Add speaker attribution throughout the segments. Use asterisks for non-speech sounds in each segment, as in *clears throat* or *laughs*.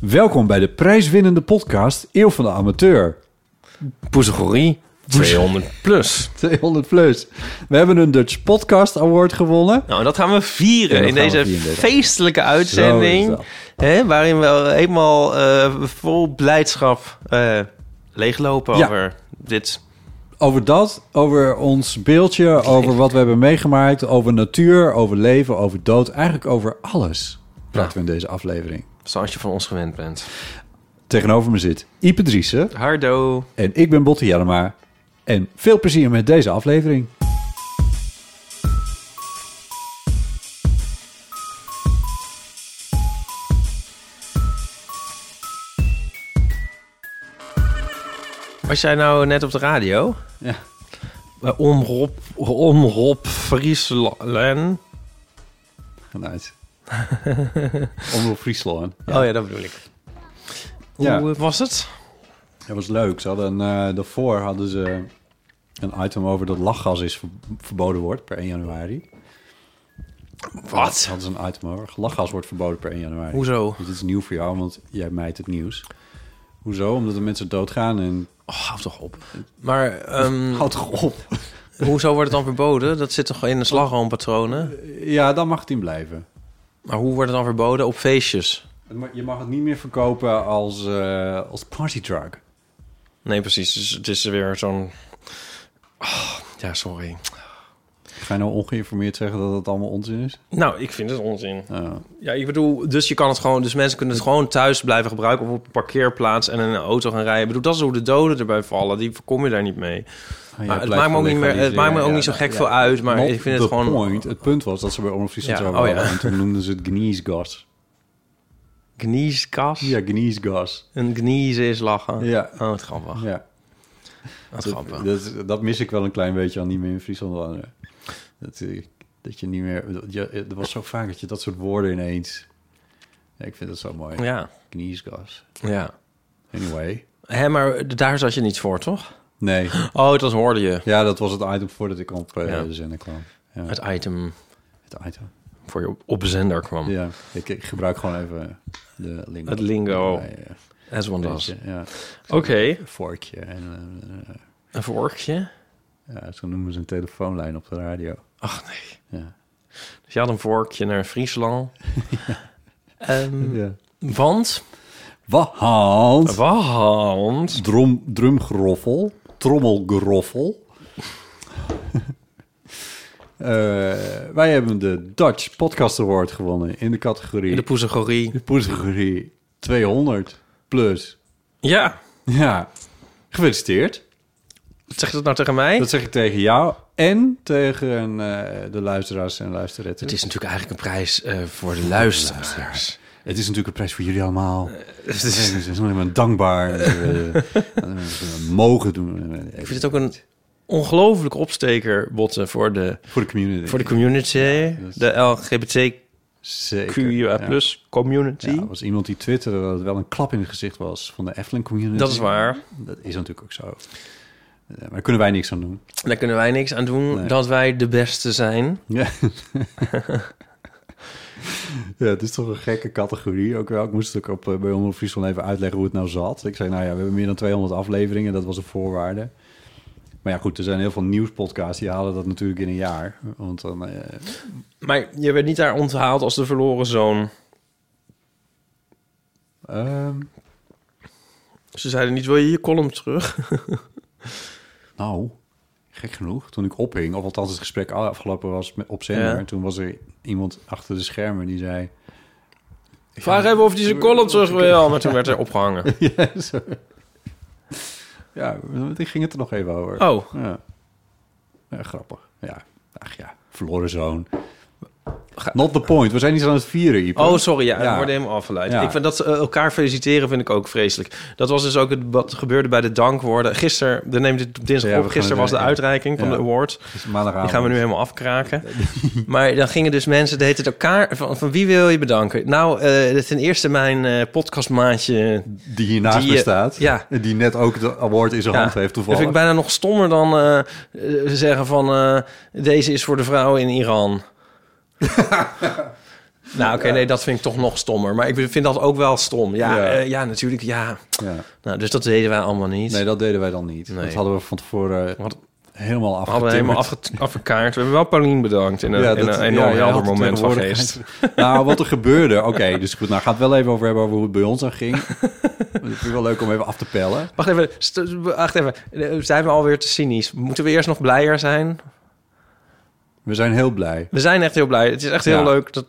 Speaker 1: Welkom bij de prijswinnende podcast Eeuw van de *laughs* Amateur.
Speaker 2: Poezegorie 200 plus.
Speaker 1: 200 plus. We hebben een Dutch Podcast Award gewonnen.
Speaker 2: Nou, en dat gaan we vieren
Speaker 1: Ja, dat
Speaker 2: in
Speaker 1: gaan we
Speaker 2: deze
Speaker 1: vieren, deze.
Speaker 2: feestelijke
Speaker 1: Zo is
Speaker 2: uitzending.
Speaker 1: dat.
Speaker 2: Hè, waarin we helemaal eh, vol blijdschap eh, leeglopen
Speaker 1: Ja.
Speaker 2: over dit.
Speaker 1: Over dat, over ons beeldje, over wat we hebben meegemaakt, over natuur, over leven, over dood. Eigenlijk over alles praten we in deze aflevering.
Speaker 2: Zoals je van ons gewend bent.
Speaker 1: Tegenover me zit Ipe Driessen
Speaker 2: Hardo.
Speaker 1: en ik ben Botte Jellema. En veel plezier met deze aflevering.
Speaker 2: Was jij nou net op de radio?
Speaker 1: Ja.
Speaker 2: Bij Omroep, Omroep Friesland.
Speaker 1: *laughs* Vanuit. Omroep Friesland.
Speaker 2: Oh ja, dat bedoel ik. Hoe
Speaker 1: Ja.
Speaker 2: eh, was het?
Speaker 1: Dat was leuk. Ze hadden, eh, daarvoor hadden ze een item over dat lachgas is ver- verboden wordt per 1 januari.
Speaker 2: Wat?
Speaker 1: Hadden ze een item over. Lachgas wordt verboden per 1 januari. Dus
Speaker 2: Hoezo?
Speaker 1: Dit is nieuw voor jou, want jij mijt het nieuws. Hoezo? Omdat de mensen doodgaan en... Mm.
Speaker 2: Oh, hou toch op. Maar ehm, *laughs*
Speaker 1: Houd toch op.
Speaker 2: hoezo wordt het dan verboden? Dat zit toch in de slagroompatronen?
Speaker 1: Ja, dan mag het in blijven. Maar
Speaker 2: Maar hoe wordt het dan verboden? Op feestjes?
Speaker 1: het ma- Je mag het niet meer verkopen als, eh als partydrug.
Speaker 2: Nee, precies. Dus het is weer zo'n... Ah, ja, sorry.
Speaker 1: Ga je nou ongeïnformeerd zeggen dat het allemaal onzin is?
Speaker 2: Nou, ik vind het onzin.
Speaker 1: Nou,
Speaker 2: Ja, ik bedoel, dus je kan het gewoon... Dus mensen kunnen het gewoon thuis blijven gebruiken... of op een parkeerplaats en in een auto gaan rijden. Ik bedoel, dat is hoe de doden erbij vallen. Die voorkom je daar niet mee.
Speaker 1: jij
Speaker 2: Maar het
Speaker 1: pleit
Speaker 2: maakt me
Speaker 1: voor
Speaker 2: ook niet, meer, het
Speaker 1: legaliseren.
Speaker 2: maakt me ook
Speaker 1: Ja,
Speaker 2: niet zo
Speaker 1: ja,
Speaker 2: gek
Speaker 1: ja.
Speaker 2: veel uit. Maar
Speaker 1: Not
Speaker 2: ik vind het
Speaker 1: the
Speaker 2: gewoon...
Speaker 1: point. Het punt was dat ze bij Omroep Friesland
Speaker 2: Ja,
Speaker 1: zouden
Speaker 2: oh ja.
Speaker 1: hadden. En toen noemden ze het gniesgas.
Speaker 2: Gnieskas.
Speaker 1: Ja, gniesgas.
Speaker 2: Een gniezen is lachen.
Speaker 1: Ja.
Speaker 2: Oh, wat grappig.
Speaker 1: Ja,
Speaker 2: Wat grappig.
Speaker 1: dat, dat, dat mis ik wel een klein beetje al niet meer in Friesland. Dat, eh, dat je niet meer... Dat, je, er was zo vaak dat je dat soort woorden ineens... Ja, ik vind dat zo mooi.
Speaker 2: Ja,
Speaker 1: Gniesgas.
Speaker 2: ja.
Speaker 1: Anyway.
Speaker 2: Hé, maar daar zat je niet voor, toch?
Speaker 1: Nee.
Speaker 2: Oh, dat hoorde je.
Speaker 1: Ja, dat was het item voordat ik op eh,
Speaker 2: Ja.
Speaker 1: de zender kwam. Ja,
Speaker 2: Het
Speaker 1: het,
Speaker 2: item
Speaker 1: item.
Speaker 2: voor je op, op zender kwam.
Speaker 1: Ja, ik, ik gebruik gewoon even de lingo.
Speaker 2: Het lingo.
Speaker 1: Ja, ja, ja.
Speaker 2: As one does.
Speaker 1: Beetje, ja.
Speaker 2: Oké,
Speaker 1: Een vorkje. En, eh, eh,
Speaker 2: een vorkje.
Speaker 1: ja, zo noemen ze een telefoonlijn op de radio.
Speaker 2: Ach nee.
Speaker 1: Ja.
Speaker 2: Dus je had een vorkje naar
Speaker 1: *laughs*
Speaker 2: Friesland. Ehm,
Speaker 1: Ja.
Speaker 2: Want?
Speaker 1: Wahand.
Speaker 2: Want?
Speaker 1: Drum, drumgeroffel. Trommelgeroffel. *laughs* Eh, wij hebben de Dutch Podcast Award gewonnen in de categorie...
Speaker 2: In de poesegorie.
Speaker 1: de categorie 200 plus.
Speaker 2: Ja,
Speaker 1: Ja, gefeliciteerd.
Speaker 2: zeg dat nou tegen mij?
Speaker 1: Dat zeg ik tegen jou en tegen eh, de luisteraars en luisterretten.
Speaker 2: Het is natuurlijk eigenlijk een prijs eh, voor de luisteraars. Eh,
Speaker 1: Het is natuurlijk een prijs voor jullie allemaal. Het is, het is alleen maar dankbaar. eh,
Speaker 2: *laughs*
Speaker 1: dat we mogen doen.
Speaker 2: Ik vind het ook een ongelooflijke opsteker, botten, voor de,
Speaker 1: Voor de community.
Speaker 2: voor de community. de LGBTQIA
Speaker 1: Zeker, ja.
Speaker 2: plus community.
Speaker 1: Ja, er was iemand die twitterde dat het wel een klap in het gezicht was van de Efteling community.
Speaker 2: dat is waar.
Speaker 1: Dat is natuurlijk ook zo. Eh, Maar daar kunnen wij niks aan doen.
Speaker 2: Daar kunnen wij niks aan doen
Speaker 1: Nee.
Speaker 2: dat wij de beste zijn.
Speaker 1: Ja. *laughs* ja, het is toch een gekke categorie. Ook wel, ik moest het ook op, eh, bij Omroep Friesland even uitleggen hoe het nou zat. Ik zei, nou ja, we hebben meer dan 200 afleveringen. Dat was een voorwaarde. Maar ja, goed, er zijn heel veel nieuwspodcasts die halen dat natuurlijk in een jaar. Want dan, eh,
Speaker 2: Maar je werd niet daar onthaald als de verloren zoon.
Speaker 1: ehm,
Speaker 2: Ze zeiden niet, wil je je column terug?
Speaker 1: nou, gek genoeg, toen ik ophing, of althans het gesprek afgelopen was met, op zender,
Speaker 2: Ja.
Speaker 1: toen was er iemand achter de schermen die zei...
Speaker 2: Vraag even of hij zijn column terug wil. Maar toen werd hij opgehangen.
Speaker 1: *laughs* ja, zo. ja, want ik ging het er nog even over.
Speaker 2: Oh,
Speaker 1: Ja. Ja, grappig. Ja, ach ja, verloren zoon. Not the point. We zijn niet aan het vieren, Iep.
Speaker 2: oh sorry. Ja,
Speaker 1: Ja.
Speaker 2: we worden helemaal afgeleid.
Speaker 1: Ja.
Speaker 2: Ik vind dat eh, elkaar feliciteren vind ik ook vreselijk. Dat was dus ook het, wat gebeurde bij de dankwoorden. Gisteren, we nemen dit op dinsdag
Speaker 1: Ja, we
Speaker 2: op.
Speaker 1: gaan
Speaker 2: Gisteren
Speaker 1: het-
Speaker 2: was de
Speaker 1: ja.
Speaker 2: uitreiking van
Speaker 1: Ja.
Speaker 2: de award.
Speaker 1: Het is maandagavond.
Speaker 2: Die gaan we nu helemaal afkraken. *laughs* maar dan gingen dus mensen, deed het elkaar, van, van wie wil je bedanken? Nou, eh, ten eerste mijn eh, podcastmaatje.
Speaker 1: Die hier naast
Speaker 2: Die,
Speaker 1: me
Speaker 2: eh,
Speaker 1: staat.
Speaker 2: ja.
Speaker 1: En Die net ook de award in zijn hand heeft
Speaker 2: dat
Speaker 1: toevallig.
Speaker 2: vind ik bijna nog stommer dan eh, eh, zeggen van eh, deze is voor de vrouw in
Speaker 1: *laughs*
Speaker 2: Iran. nou, oké, nee, dat vind ik toch nog stommer. Maar ik vind dat ook wel stom. Ja,
Speaker 1: Ja.
Speaker 2: ja. ja natuurlijk, ja.
Speaker 1: Ja.
Speaker 2: Nou, dus dat deden wij allemaal niet.
Speaker 1: Nee, dat deden wij dan niet.
Speaker 2: Nee.
Speaker 1: Dat hadden we van tevoren eh,
Speaker 2: Wat-
Speaker 1: helemaal
Speaker 2: we
Speaker 1: afgetimmerd.
Speaker 2: hadden helemaal afge- afgekaart. We hebben wel Paulien bedankt in een, in een enorm
Speaker 1: ja,
Speaker 2: helder
Speaker 1: wat de
Speaker 2: moment van
Speaker 1: tegenwoordigheid.
Speaker 2: geest.
Speaker 1: *laughs* Nou, wat er gebeurde. Oké, dus goed. Nou, gaat het wel even over hebben over hoe het bij ons aan ging.
Speaker 2: *laughs*
Speaker 1: Dat vind ik wel leuk om even af te pellen.
Speaker 2: Wacht even, st- wacht even. Eh, Zijn we alweer te cynisch? Moeten we eerst nog blijer zijn?
Speaker 1: We zijn heel blij.
Speaker 2: We zijn echt heel blij. Het is echt heel
Speaker 1: Ja.
Speaker 2: leuk. Dat,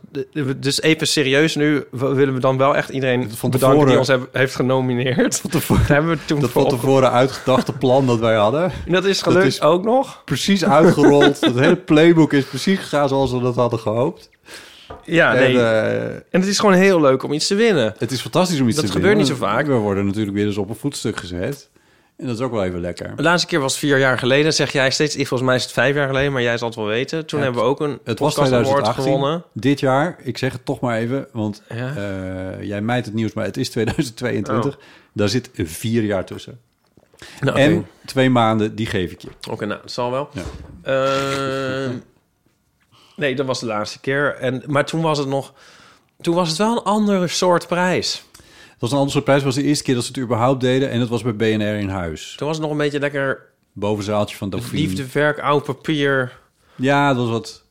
Speaker 2: dus even serieus nu. we- Willen we dan wel echt iedereen
Speaker 1: Van
Speaker 2: bedanken
Speaker 1: tevoren-
Speaker 2: die ons heb- heeft genomineerd?
Speaker 1: Van tevoren-
Speaker 2: Daar hebben we toen
Speaker 1: Dat
Speaker 2: voor
Speaker 1: van
Speaker 2: op-
Speaker 1: tevoren uitgedachte plan dat wij hadden.
Speaker 2: En dat is gelukt
Speaker 1: dat is-
Speaker 2: ook nog?
Speaker 1: Precies uitgerold. Het hele playbook is precies gegaan zoals we dat hadden gehoopt.
Speaker 2: Ja, nee.
Speaker 1: En,
Speaker 2: En,
Speaker 1: eh,
Speaker 2: het is gewoon heel leuk om iets te winnen.
Speaker 1: het is fantastisch om iets
Speaker 2: Dat
Speaker 1: te
Speaker 2: gebeurt
Speaker 1: winnen.
Speaker 2: niet zo vaak.
Speaker 1: We worden natuurlijk weer eens op een voetstuk gezet. En dat is ook wel even lekker.
Speaker 2: De laatste keer was vier jaar geleden. Zeg jij steeds, ik- volgens mij is het vijf jaar geleden, maar jij zal het wel weten. Toen
Speaker 1: Ja,
Speaker 2: hebben we ook een
Speaker 1: Het was
Speaker 2: podcast award
Speaker 1: 2018.
Speaker 2: gewonnen.
Speaker 1: Dit jaar, ik zeg het toch maar even, want
Speaker 2: Ja.
Speaker 1: eh, jij mijt het nieuws, maar het is 2022. Daar zit vier jaar tussen.
Speaker 2: Nou,
Speaker 1: En
Speaker 2: oké.
Speaker 1: twee maanden, die geef ik je.
Speaker 2: Oké, nou, dat zal wel.
Speaker 1: Ja.
Speaker 2: Eh, nee, dat was de laatste keer. En, maar toen was het nog... Toen was het wel een andere soort prijs.
Speaker 1: Dat was een ander soort prijs. Het was de eerste keer dat ze het überhaupt deden. En dat was bij BNR in huis.
Speaker 2: Toen was het nog een beetje lekker
Speaker 1: Bovenzaaltje van Dauphine.
Speaker 2: liefdewerk, oud papier.
Speaker 1: Ja, dat was wat...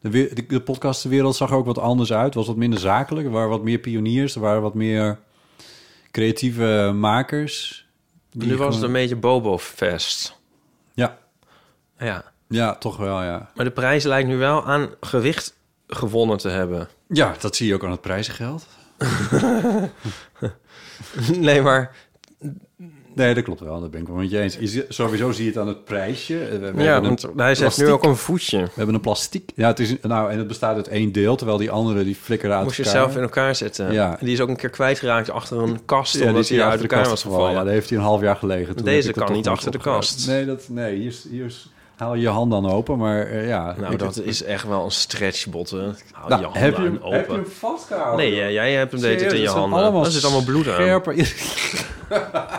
Speaker 1: De, we- de, de podcastenwereld zag er ook wat anders uit. Het was wat minder zakelijk. Er waren wat meer pioniers. Er waren wat meer creatieve makers. Die
Speaker 2: nu was het
Speaker 1: gewoon-
Speaker 2: een beetje Bobo-fest.
Speaker 1: Ja,
Speaker 2: Ja.
Speaker 1: ja, toch wel, ja.
Speaker 2: Maar de prijs lijkt nu wel aan gewicht gewonnen te hebben. *laughs*
Speaker 1: Ja, dat zie je ook aan het prijzengeld.
Speaker 2: nee, maar...
Speaker 1: Nee, dat klopt wel. Dat ben ik wel met je eens. Je zie- sowieso zie je het aan het prijsje. Eh, We, we
Speaker 2: ja,
Speaker 1: hebben
Speaker 2: want
Speaker 1: een
Speaker 2: hij zegt nu
Speaker 1: plastiek-
Speaker 2: ook een voetje.
Speaker 1: We hebben een plastiek... Ja, het is, nou, en het bestaat uit één deel, terwijl die andere die flikkeren uit
Speaker 2: Moest je
Speaker 1: elkaar.
Speaker 2: zelf in elkaar zetten.
Speaker 1: Ja.
Speaker 2: En Die is ook een keer kwijtgeraakt achter een kast...
Speaker 1: Ja, die
Speaker 2: omdat
Speaker 1: is
Speaker 2: hij
Speaker 1: hier
Speaker 2: uit elkaar
Speaker 1: kast
Speaker 2: was
Speaker 1: gevallen. Ja,
Speaker 2: gevallen.
Speaker 1: daar heeft hij een half jaar gelegen. Toen
Speaker 2: Deze
Speaker 1: heb ik het
Speaker 2: kan
Speaker 1: toch
Speaker 2: niet
Speaker 1: nog
Speaker 2: achter de
Speaker 1: opgeruimd.
Speaker 2: kast.
Speaker 1: Nee, dat, nee hier, is- hier is- haal je je hand dan open, maar eh, ja.
Speaker 2: Nou,
Speaker 1: Ik-
Speaker 2: dat is echt wel een stretchbotten. Hou
Speaker 1: Nou,
Speaker 2: je handen
Speaker 1: heb, je hem,
Speaker 2: aan
Speaker 1: heb je
Speaker 2: open.
Speaker 1: hem vastgehouden?
Speaker 2: Nee, jij, jij hebt hem deed het in je handen.
Speaker 1: allemaal
Speaker 2: Er zit allemaal bloed aan.
Speaker 1: scherpe- *laughs*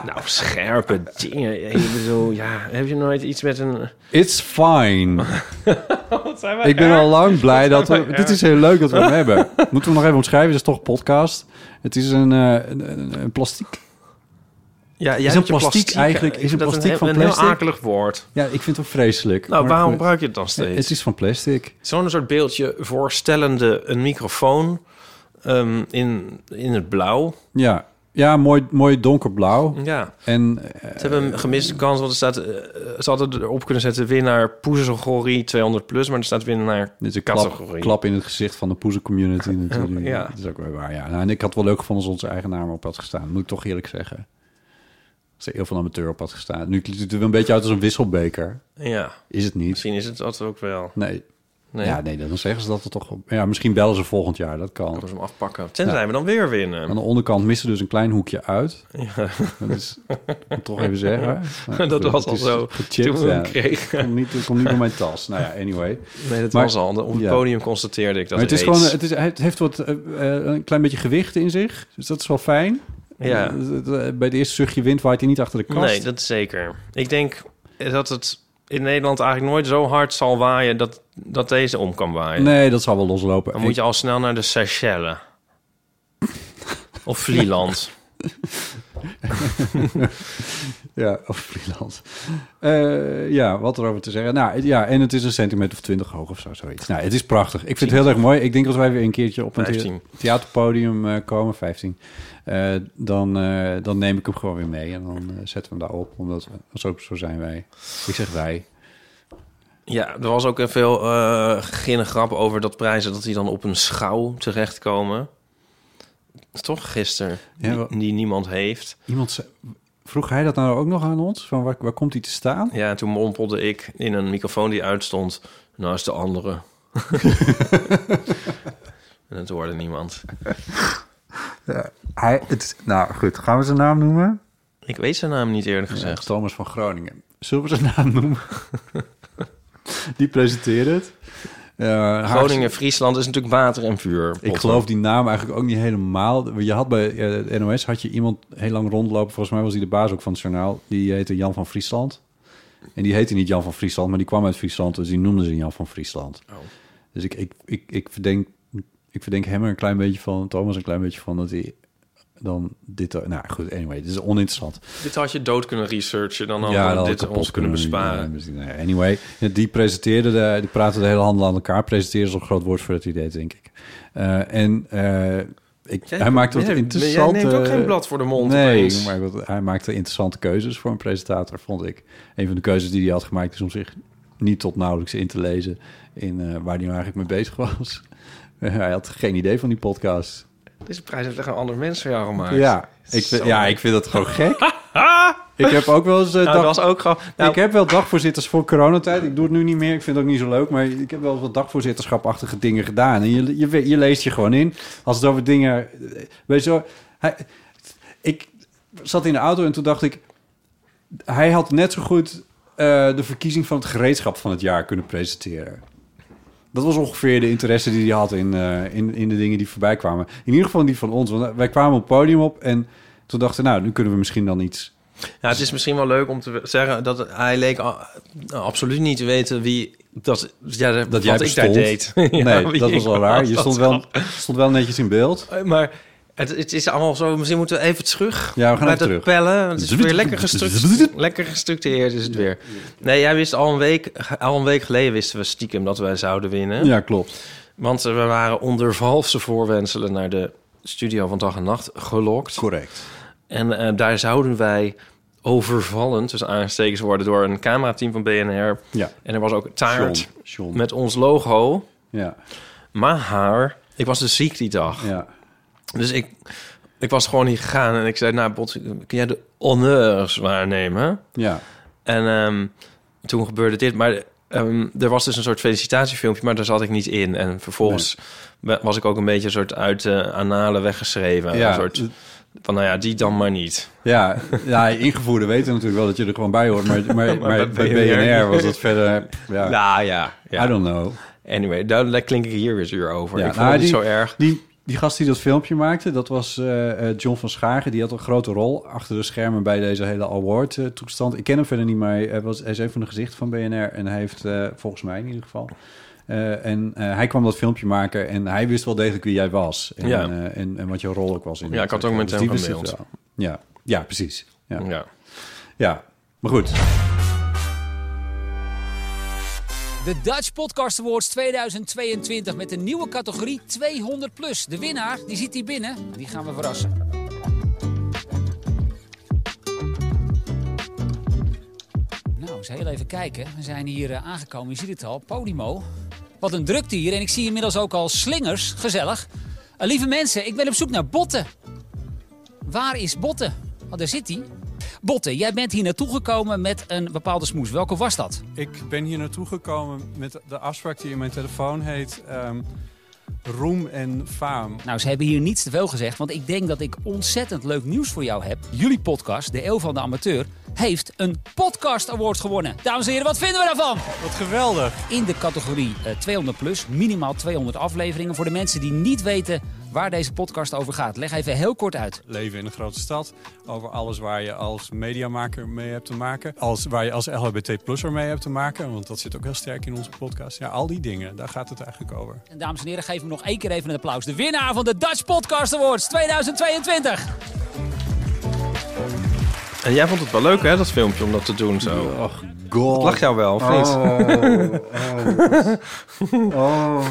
Speaker 2: Nou, scherpe *laughs* dingen. Ik bedoel, ja, heb je nooit iets met een...
Speaker 1: It's
Speaker 2: *laughs*
Speaker 1: fine. ik ben al lang blij dat we... Dit is heel leuk dat we
Speaker 2: *laughs*
Speaker 1: hem hebben. Moeten we nog even omschrijven? Dit is toch een podcast. Het is een, eh, een, een, een plastic...
Speaker 2: Ja, jij
Speaker 1: Is een
Speaker 2: hebt je
Speaker 1: plastiek eigenlijk-
Speaker 2: Ik
Speaker 1: is een
Speaker 2: vind dat
Speaker 1: plastiek
Speaker 2: heel-
Speaker 1: van
Speaker 2: Een
Speaker 1: plastic?
Speaker 2: heel akelig woord.
Speaker 1: Ja, ik vind het ook vreselijk.
Speaker 2: Nou,
Speaker 1: Maar
Speaker 2: waarom
Speaker 1: goed.
Speaker 2: gebruik je het dan steeds?
Speaker 1: Het is van plastic.
Speaker 2: Zo'n soort beeldje voorstellende een microfoon ehm, in, in het blauw.
Speaker 1: Ja, ja mooi, mooi donkerblauw.
Speaker 2: Ja,
Speaker 1: En eh,
Speaker 2: ze hebben een gemiste kans, want er staat, eh, ze hadden erop kunnen zetten winnaar Poezelgorie 200+, plus, maar er staat winnaar
Speaker 1: Dit is een klap,
Speaker 2: categorie.
Speaker 1: klap in het gezicht van de poezen
Speaker 2: *laughs*
Speaker 1: community natuurlijk.
Speaker 2: Ja.
Speaker 1: Dat is ook wel waar, ja. Nou, en ik had wel leuk gevonden als onze eigen naam op had gestaan. Moet ik toch eerlijk zeggen. Als er heel veel amateur op had gestaan. Nu ziet het er wel een beetje uit als een wisselbeker.
Speaker 2: Ja,
Speaker 1: Is het niet?
Speaker 2: misschien is het dat ook wel.
Speaker 1: Nee.
Speaker 2: Nee,
Speaker 1: Ja, nee, dan zeggen ze dat er toch... op- Ja, misschien bellen ze volgend jaar, dat kan.
Speaker 2: moeten ze hem afpakken. Tenzij we dan weer winnen.
Speaker 1: Aan de onderkant mist er dus een klein hoekje uit. Dat is, moet ik toch even
Speaker 2: *laughs*
Speaker 1: zeggen. Nou,
Speaker 2: Dat
Speaker 1: goed,
Speaker 2: was
Speaker 1: het
Speaker 2: al
Speaker 1: is
Speaker 2: zo
Speaker 1: gechipt,
Speaker 2: toen we hem
Speaker 1: ja.
Speaker 2: kregen.
Speaker 1: Het komt niet, het komt niet door mijn tas. Nou ja, anyway.
Speaker 2: Nee, dat
Speaker 1: Maar-
Speaker 2: was al. Op het
Speaker 1: ja.
Speaker 2: podium constateerde ik dat
Speaker 1: Maar het is
Speaker 2: reeds.
Speaker 1: gewoon, het, is, het heeft wat, eh, eh, een klein beetje gewicht in zich. Dus dat is wel fijn.
Speaker 2: Ja.
Speaker 1: Eh, eh, Bij het eerste zuchtje wind waait hij niet achter de kast.
Speaker 2: Nee, dat is zeker. Ik denk dat het in Nederland eigenlijk nooit zo hard zal waaien dat, dat deze om kan waaien.
Speaker 1: nee, dat zal wel loslopen.
Speaker 2: Dan moet je al snel naar de Seychelles. Of Vlieland.
Speaker 1: Ja, *laughs* of freelance. Eh, ja, wat erover te zeggen. Nou, ja, en het is een centimeter of twintig hoog of zo, zoiets. Nou, het is prachtig. Ik vind het heel erg mooi. Ik denk als wij weer een keertje op een thea-
Speaker 2: 15.
Speaker 1: theaterpodium eh, komen, 15, eh, dan, eh, dan neem ik hem gewoon weer mee. En dan eh, zetten we hem daar op, omdat we, zo, zo zijn wij. Ik zeg wij.
Speaker 2: *laughs* Ja, er was ook veel eh ginne grap over dat prijzen... dat die dan op een schouw terechtkomen. Toch gisteren,
Speaker 1: Ja,
Speaker 2: die,
Speaker 1: wa-
Speaker 2: die niemand heeft.
Speaker 1: Iemand zei- vroeg hij dat nou ook nog aan ons? Van waar, waar komt hij te staan?
Speaker 2: Ja, en toen mompelde ik in een microfoon die uitstond... Nou is de *laughs* andere. en het hoorde niemand.
Speaker 1: Hij, het, nou goed, gaan we zijn naam noemen?
Speaker 2: Ik weet zijn naam niet eerlijk gezegd.
Speaker 1: Thomas van Groningen. Zullen we zijn naam noemen? die presenteert het. Eh, Haagse-
Speaker 2: Groningen, Friesland is natuurlijk water en vuur.
Speaker 1: Ik geloof die naam eigenlijk ook niet helemaal. Je had bij eh, het NOS had je iemand heel lang rondlopen. Volgens mij was hij de baas ook van het journaal. Die heette Jan van Friesland. En die heette niet Jan van Friesland, maar die kwam uit Friesland. Dus die noemden ze Jan van Friesland. Dus ik, ik, ik, ik, verdenk, ik verdenk hem er een klein beetje van. Thomas een klein beetje van dat hij dan dit... Nou goed, anyway, dit is oninteressant.
Speaker 2: Dit had je dood kunnen researchen, dan hadden
Speaker 1: Ja,
Speaker 2: we
Speaker 1: dat
Speaker 2: dit ons kunnen besparen.
Speaker 1: nou anyway, die presenteerde, de, die praatte de hele handel aan elkaar. Presenteerde is een groot woord voor dat idee, denk ik. Eh, en eh, ik,
Speaker 2: Jij-
Speaker 1: hij maakte wat
Speaker 2: jij- jij
Speaker 1: interessante...
Speaker 2: neemt ook geen blad voor de mond
Speaker 1: Nee,
Speaker 2: opeens.
Speaker 1: maar wat, hij maakte interessante keuzes voor een presentator, vond ik. Een van de keuzes die hij had gemaakt is om zich niet tot nauwelijks in te lezen... in eh, waar hij nou eigenlijk mee bezig was. *laughs* hij had geen idee van die podcast.
Speaker 2: Deze prijs heeft echt een ander mens voor jou gemaakt. Nou,
Speaker 1: Ja, ik, vind-
Speaker 2: Zo.
Speaker 1: ja, ik vind dat gewoon
Speaker 2: *laughs*
Speaker 1: gek. ik heb ook wel eens... eh,
Speaker 2: Nou,
Speaker 1: dag-
Speaker 2: dat was ook gewoon... Nou,
Speaker 1: ik heb wel dagvoorzitters voor coronatijd. Ik doe het nu niet meer. Ik vind het ook niet zo leuk. Maar ik heb wel wat dagvoorzitterschapachtige dingen gedaan. En je, je, we- je leest je gewoon in. Als het over dingen... eh, Weet je zo... Hij, ik zat in de auto en toen dacht ik... Hij had net zo goed eh, de verkiezing van het gereedschap van het jaar kunnen presenteren. Dat was ongeveer de interesse die hij had in, eh, in, in de dingen die voorbij kwamen. In ieder geval die van ons. Want eh, wij kwamen op het podium op en toen dachten we... Nou, nu kunnen we misschien dan iets...
Speaker 2: Ja, het is misschien wel leuk om te zeggen dat hij leek a- absoluut niet te weten wie dat, ja,
Speaker 1: dat
Speaker 2: wat
Speaker 1: jij
Speaker 2: ik daar
Speaker 1: bestond. *laughs*
Speaker 2: deed. *laughs* Ja,
Speaker 1: nee,
Speaker 2: wie
Speaker 1: dat
Speaker 2: ik
Speaker 1: was wel raar. Je
Speaker 2: dat
Speaker 1: stond wel, stond wel netjes in beeld.
Speaker 2: Eh, Maar het, het is allemaal zo. Misschien moeten we even terug.
Speaker 1: Ja, we gaan
Speaker 2: bij
Speaker 1: even
Speaker 2: dat
Speaker 1: terug.
Speaker 2: pellen. want Het is weer lekker, gestruct,
Speaker 1: Zwoep.
Speaker 2: lekker gestructureerd is het weer. Nee, jij wist al een week, al een week geleden wisten we stiekem dat wij zouden winnen.
Speaker 1: Ja, klopt.
Speaker 2: Want eh, we waren onder valse voorwenselen naar de studio van dag en nacht gelokt.
Speaker 1: Correct.
Speaker 2: En eh, daar zouden wij overvallen, tussen aanstekens worden, door een camerateam van BNR.
Speaker 1: Ja.
Speaker 2: En er was ook een taart
Speaker 1: John, John.
Speaker 2: met ons logo.
Speaker 1: Ja,
Speaker 2: Maar haar, ik was dus ziek die dag.
Speaker 1: ja.
Speaker 2: Dus ik, ik was gewoon niet gegaan en ik zei, nou Bot, kun jij de honneurs waarnemen?
Speaker 1: Ja,
Speaker 2: En ehm, toen gebeurde dit, maar ehm, er was dus een soort felicitatiefilmpje, maar daar zat ik niet in. En vervolgens wa- was ik ook een beetje een soort uit de analen weggeschreven.
Speaker 1: Ja.
Speaker 2: Een soort van, nou ja, die dan maar niet.
Speaker 1: ja, ja ingevoerden weten natuurlijk wel dat je er gewoon bij hoort.
Speaker 2: *laughs*
Speaker 1: Maar, maar, maar, bij
Speaker 2: BNR
Speaker 1: BNR was dat verder... Ja,
Speaker 2: Nou ja, ja.
Speaker 1: I don't know.
Speaker 2: Anyway, daar, daar klink ik hier weer zuur over.
Speaker 1: Ja,
Speaker 2: ik vond
Speaker 1: nou,
Speaker 2: het niet
Speaker 1: die-
Speaker 2: zo erg.
Speaker 1: Die, die gast die dat filmpje maakte, dat was eh, eh, John van Schagen. Die had een grote rol achter de schermen bij deze hele award-toestand. ik ken hem verder niet, maar hij, eh, was, hij is een van de gezichten van BNR. En hij heeft, eh, volgens mij in ieder geval... eh, en eh, hij kwam dat filmpje maken en hij wist wel degelijk wie jij was. En,
Speaker 2: Ja.
Speaker 1: eh, en, en wat jouw rol ook was. In
Speaker 2: Ja,
Speaker 1: dat
Speaker 2: ik had ook
Speaker 1: verhaal.
Speaker 2: met hem
Speaker 1: die wist het
Speaker 2: gemaild.
Speaker 1: wel. Ja, ja precies. Ja.
Speaker 2: Ja.
Speaker 1: ja, maar goed.
Speaker 3: De Dutch Podcast Awards 2022 met de nieuwe categorie 200 plus. De winnaar, die zit hier binnen. Die gaan we verrassen. Nou, eens heel even kijken. We zijn hier eh, aangekomen, je ziet het al, Podimo. Wat een drukte hier en ik zie inmiddels ook al slingers, gezellig. Eh, lieve mensen, ik ben op zoek naar Botten. Waar is Botten? Oh, daar zit hij. Botten, jij bent hier naartoe gekomen met een bepaalde smoes. Welke was dat?
Speaker 4: Ik ben hier naartoe gekomen met de afspraak die in mijn telefoon heet... ehm, roem en faam.
Speaker 3: Nou, ze hebben hier niets te veel gezegd, want ik denk dat ik ontzettend leuk nieuws voor jou heb. Jullie podcast, De Eeuw van de Amateur, heeft een Podcast Award gewonnen. Dames en heren, wat vinden we daarvan?
Speaker 4: Wat geweldig.
Speaker 3: In de categorie eh, 200 plus, minimaal 200 afleveringen. Voor de mensen die niet weten waar deze podcast over gaat, leg even heel kort uit.
Speaker 4: Leven in een grote stad. Over alles waar je als mediamaker mee hebt te maken. Als, waar je als LHBT plusser mee hebt te maken. Want dat zit ook heel sterk in onze podcast. Ja, al die dingen. Daar gaat het eigenlijk over.
Speaker 3: En dames en heren, geef me nog één keer even een applaus. De winnaar van de Dutch Podcast Awards 2022.
Speaker 2: En jij vond het wel leuk, hè, dat filmpje, om dat te doen zo.
Speaker 1: Och, god.
Speaker 2: Lag jou wel, of niet?
Speaker 1: Oh.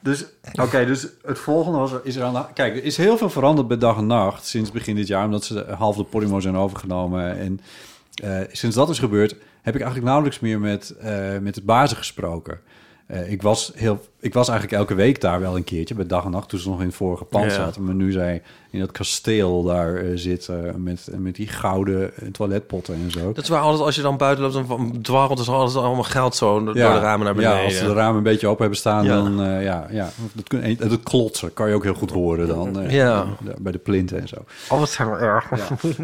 Speaker 1: Dus, oké, dus het volgende was... Is er aan de- kijk, er is heel veel veranderd bij dag en nacht sinds begin dit jaar... omdat ze half de Podimo zijn overgenomen. En eh, sinds dat is gebeurd, heb ik eigenlijk nauwelijks meer met, eh, met de bazen gesproken. Eh, ik was heel... ik was eigenlijk elke week daar wel een keertje, bij dag en nacht, toen ze nog in het vorige pand
Speaker 2: Ja.
Speaker 1: zaten. Maar nu zij in dat kasteel daar eh, zitten met, met die gouden eh, toiletpotten en zo.
Speaker 2: Dat is waar altijd als je dan buiten loopt, dan van- dwarrelt er altijd allemaal geld zo door de ramen naar beneden.
Speaker 1: Ja, als de ramen een beetje open hebben staan,
Speaker 2: Ja.
Speaker 1: dan eh, ja, ja. Dat, kun, en dat klotsen kan je ook heel goed horen dan. eh,
Speaker 2: Ja.
Speaker 1: Bij de plinten en zo.
Speaker 2: Alles Oh, zijn we erg. *laughs*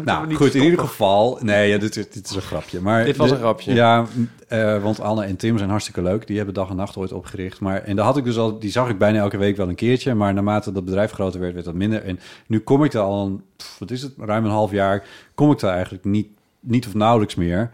Speaker 1: Nou, goed, in ieder geval... Nee, ja, dit, dit is een grapje. Maar
Speaker 2: Dit was
Speaker 1: de-
Speaker 2: een grapje.
Speaker 1: Ja, eh, want Anne en Tim zijn hartstikke leuk. Die hebben dag en nacht ooit opgericht. Maar, en daar had ik dus al, die zag ik bijna elke week wel een keertje. Maar naarmate dat bedrijf groter werd, werd dat minder. En nu kom ik daar al, een, pff, wat is het, ruim een half jaar... kom ik daar eigenlijk niet, niet of nauwelijks meer...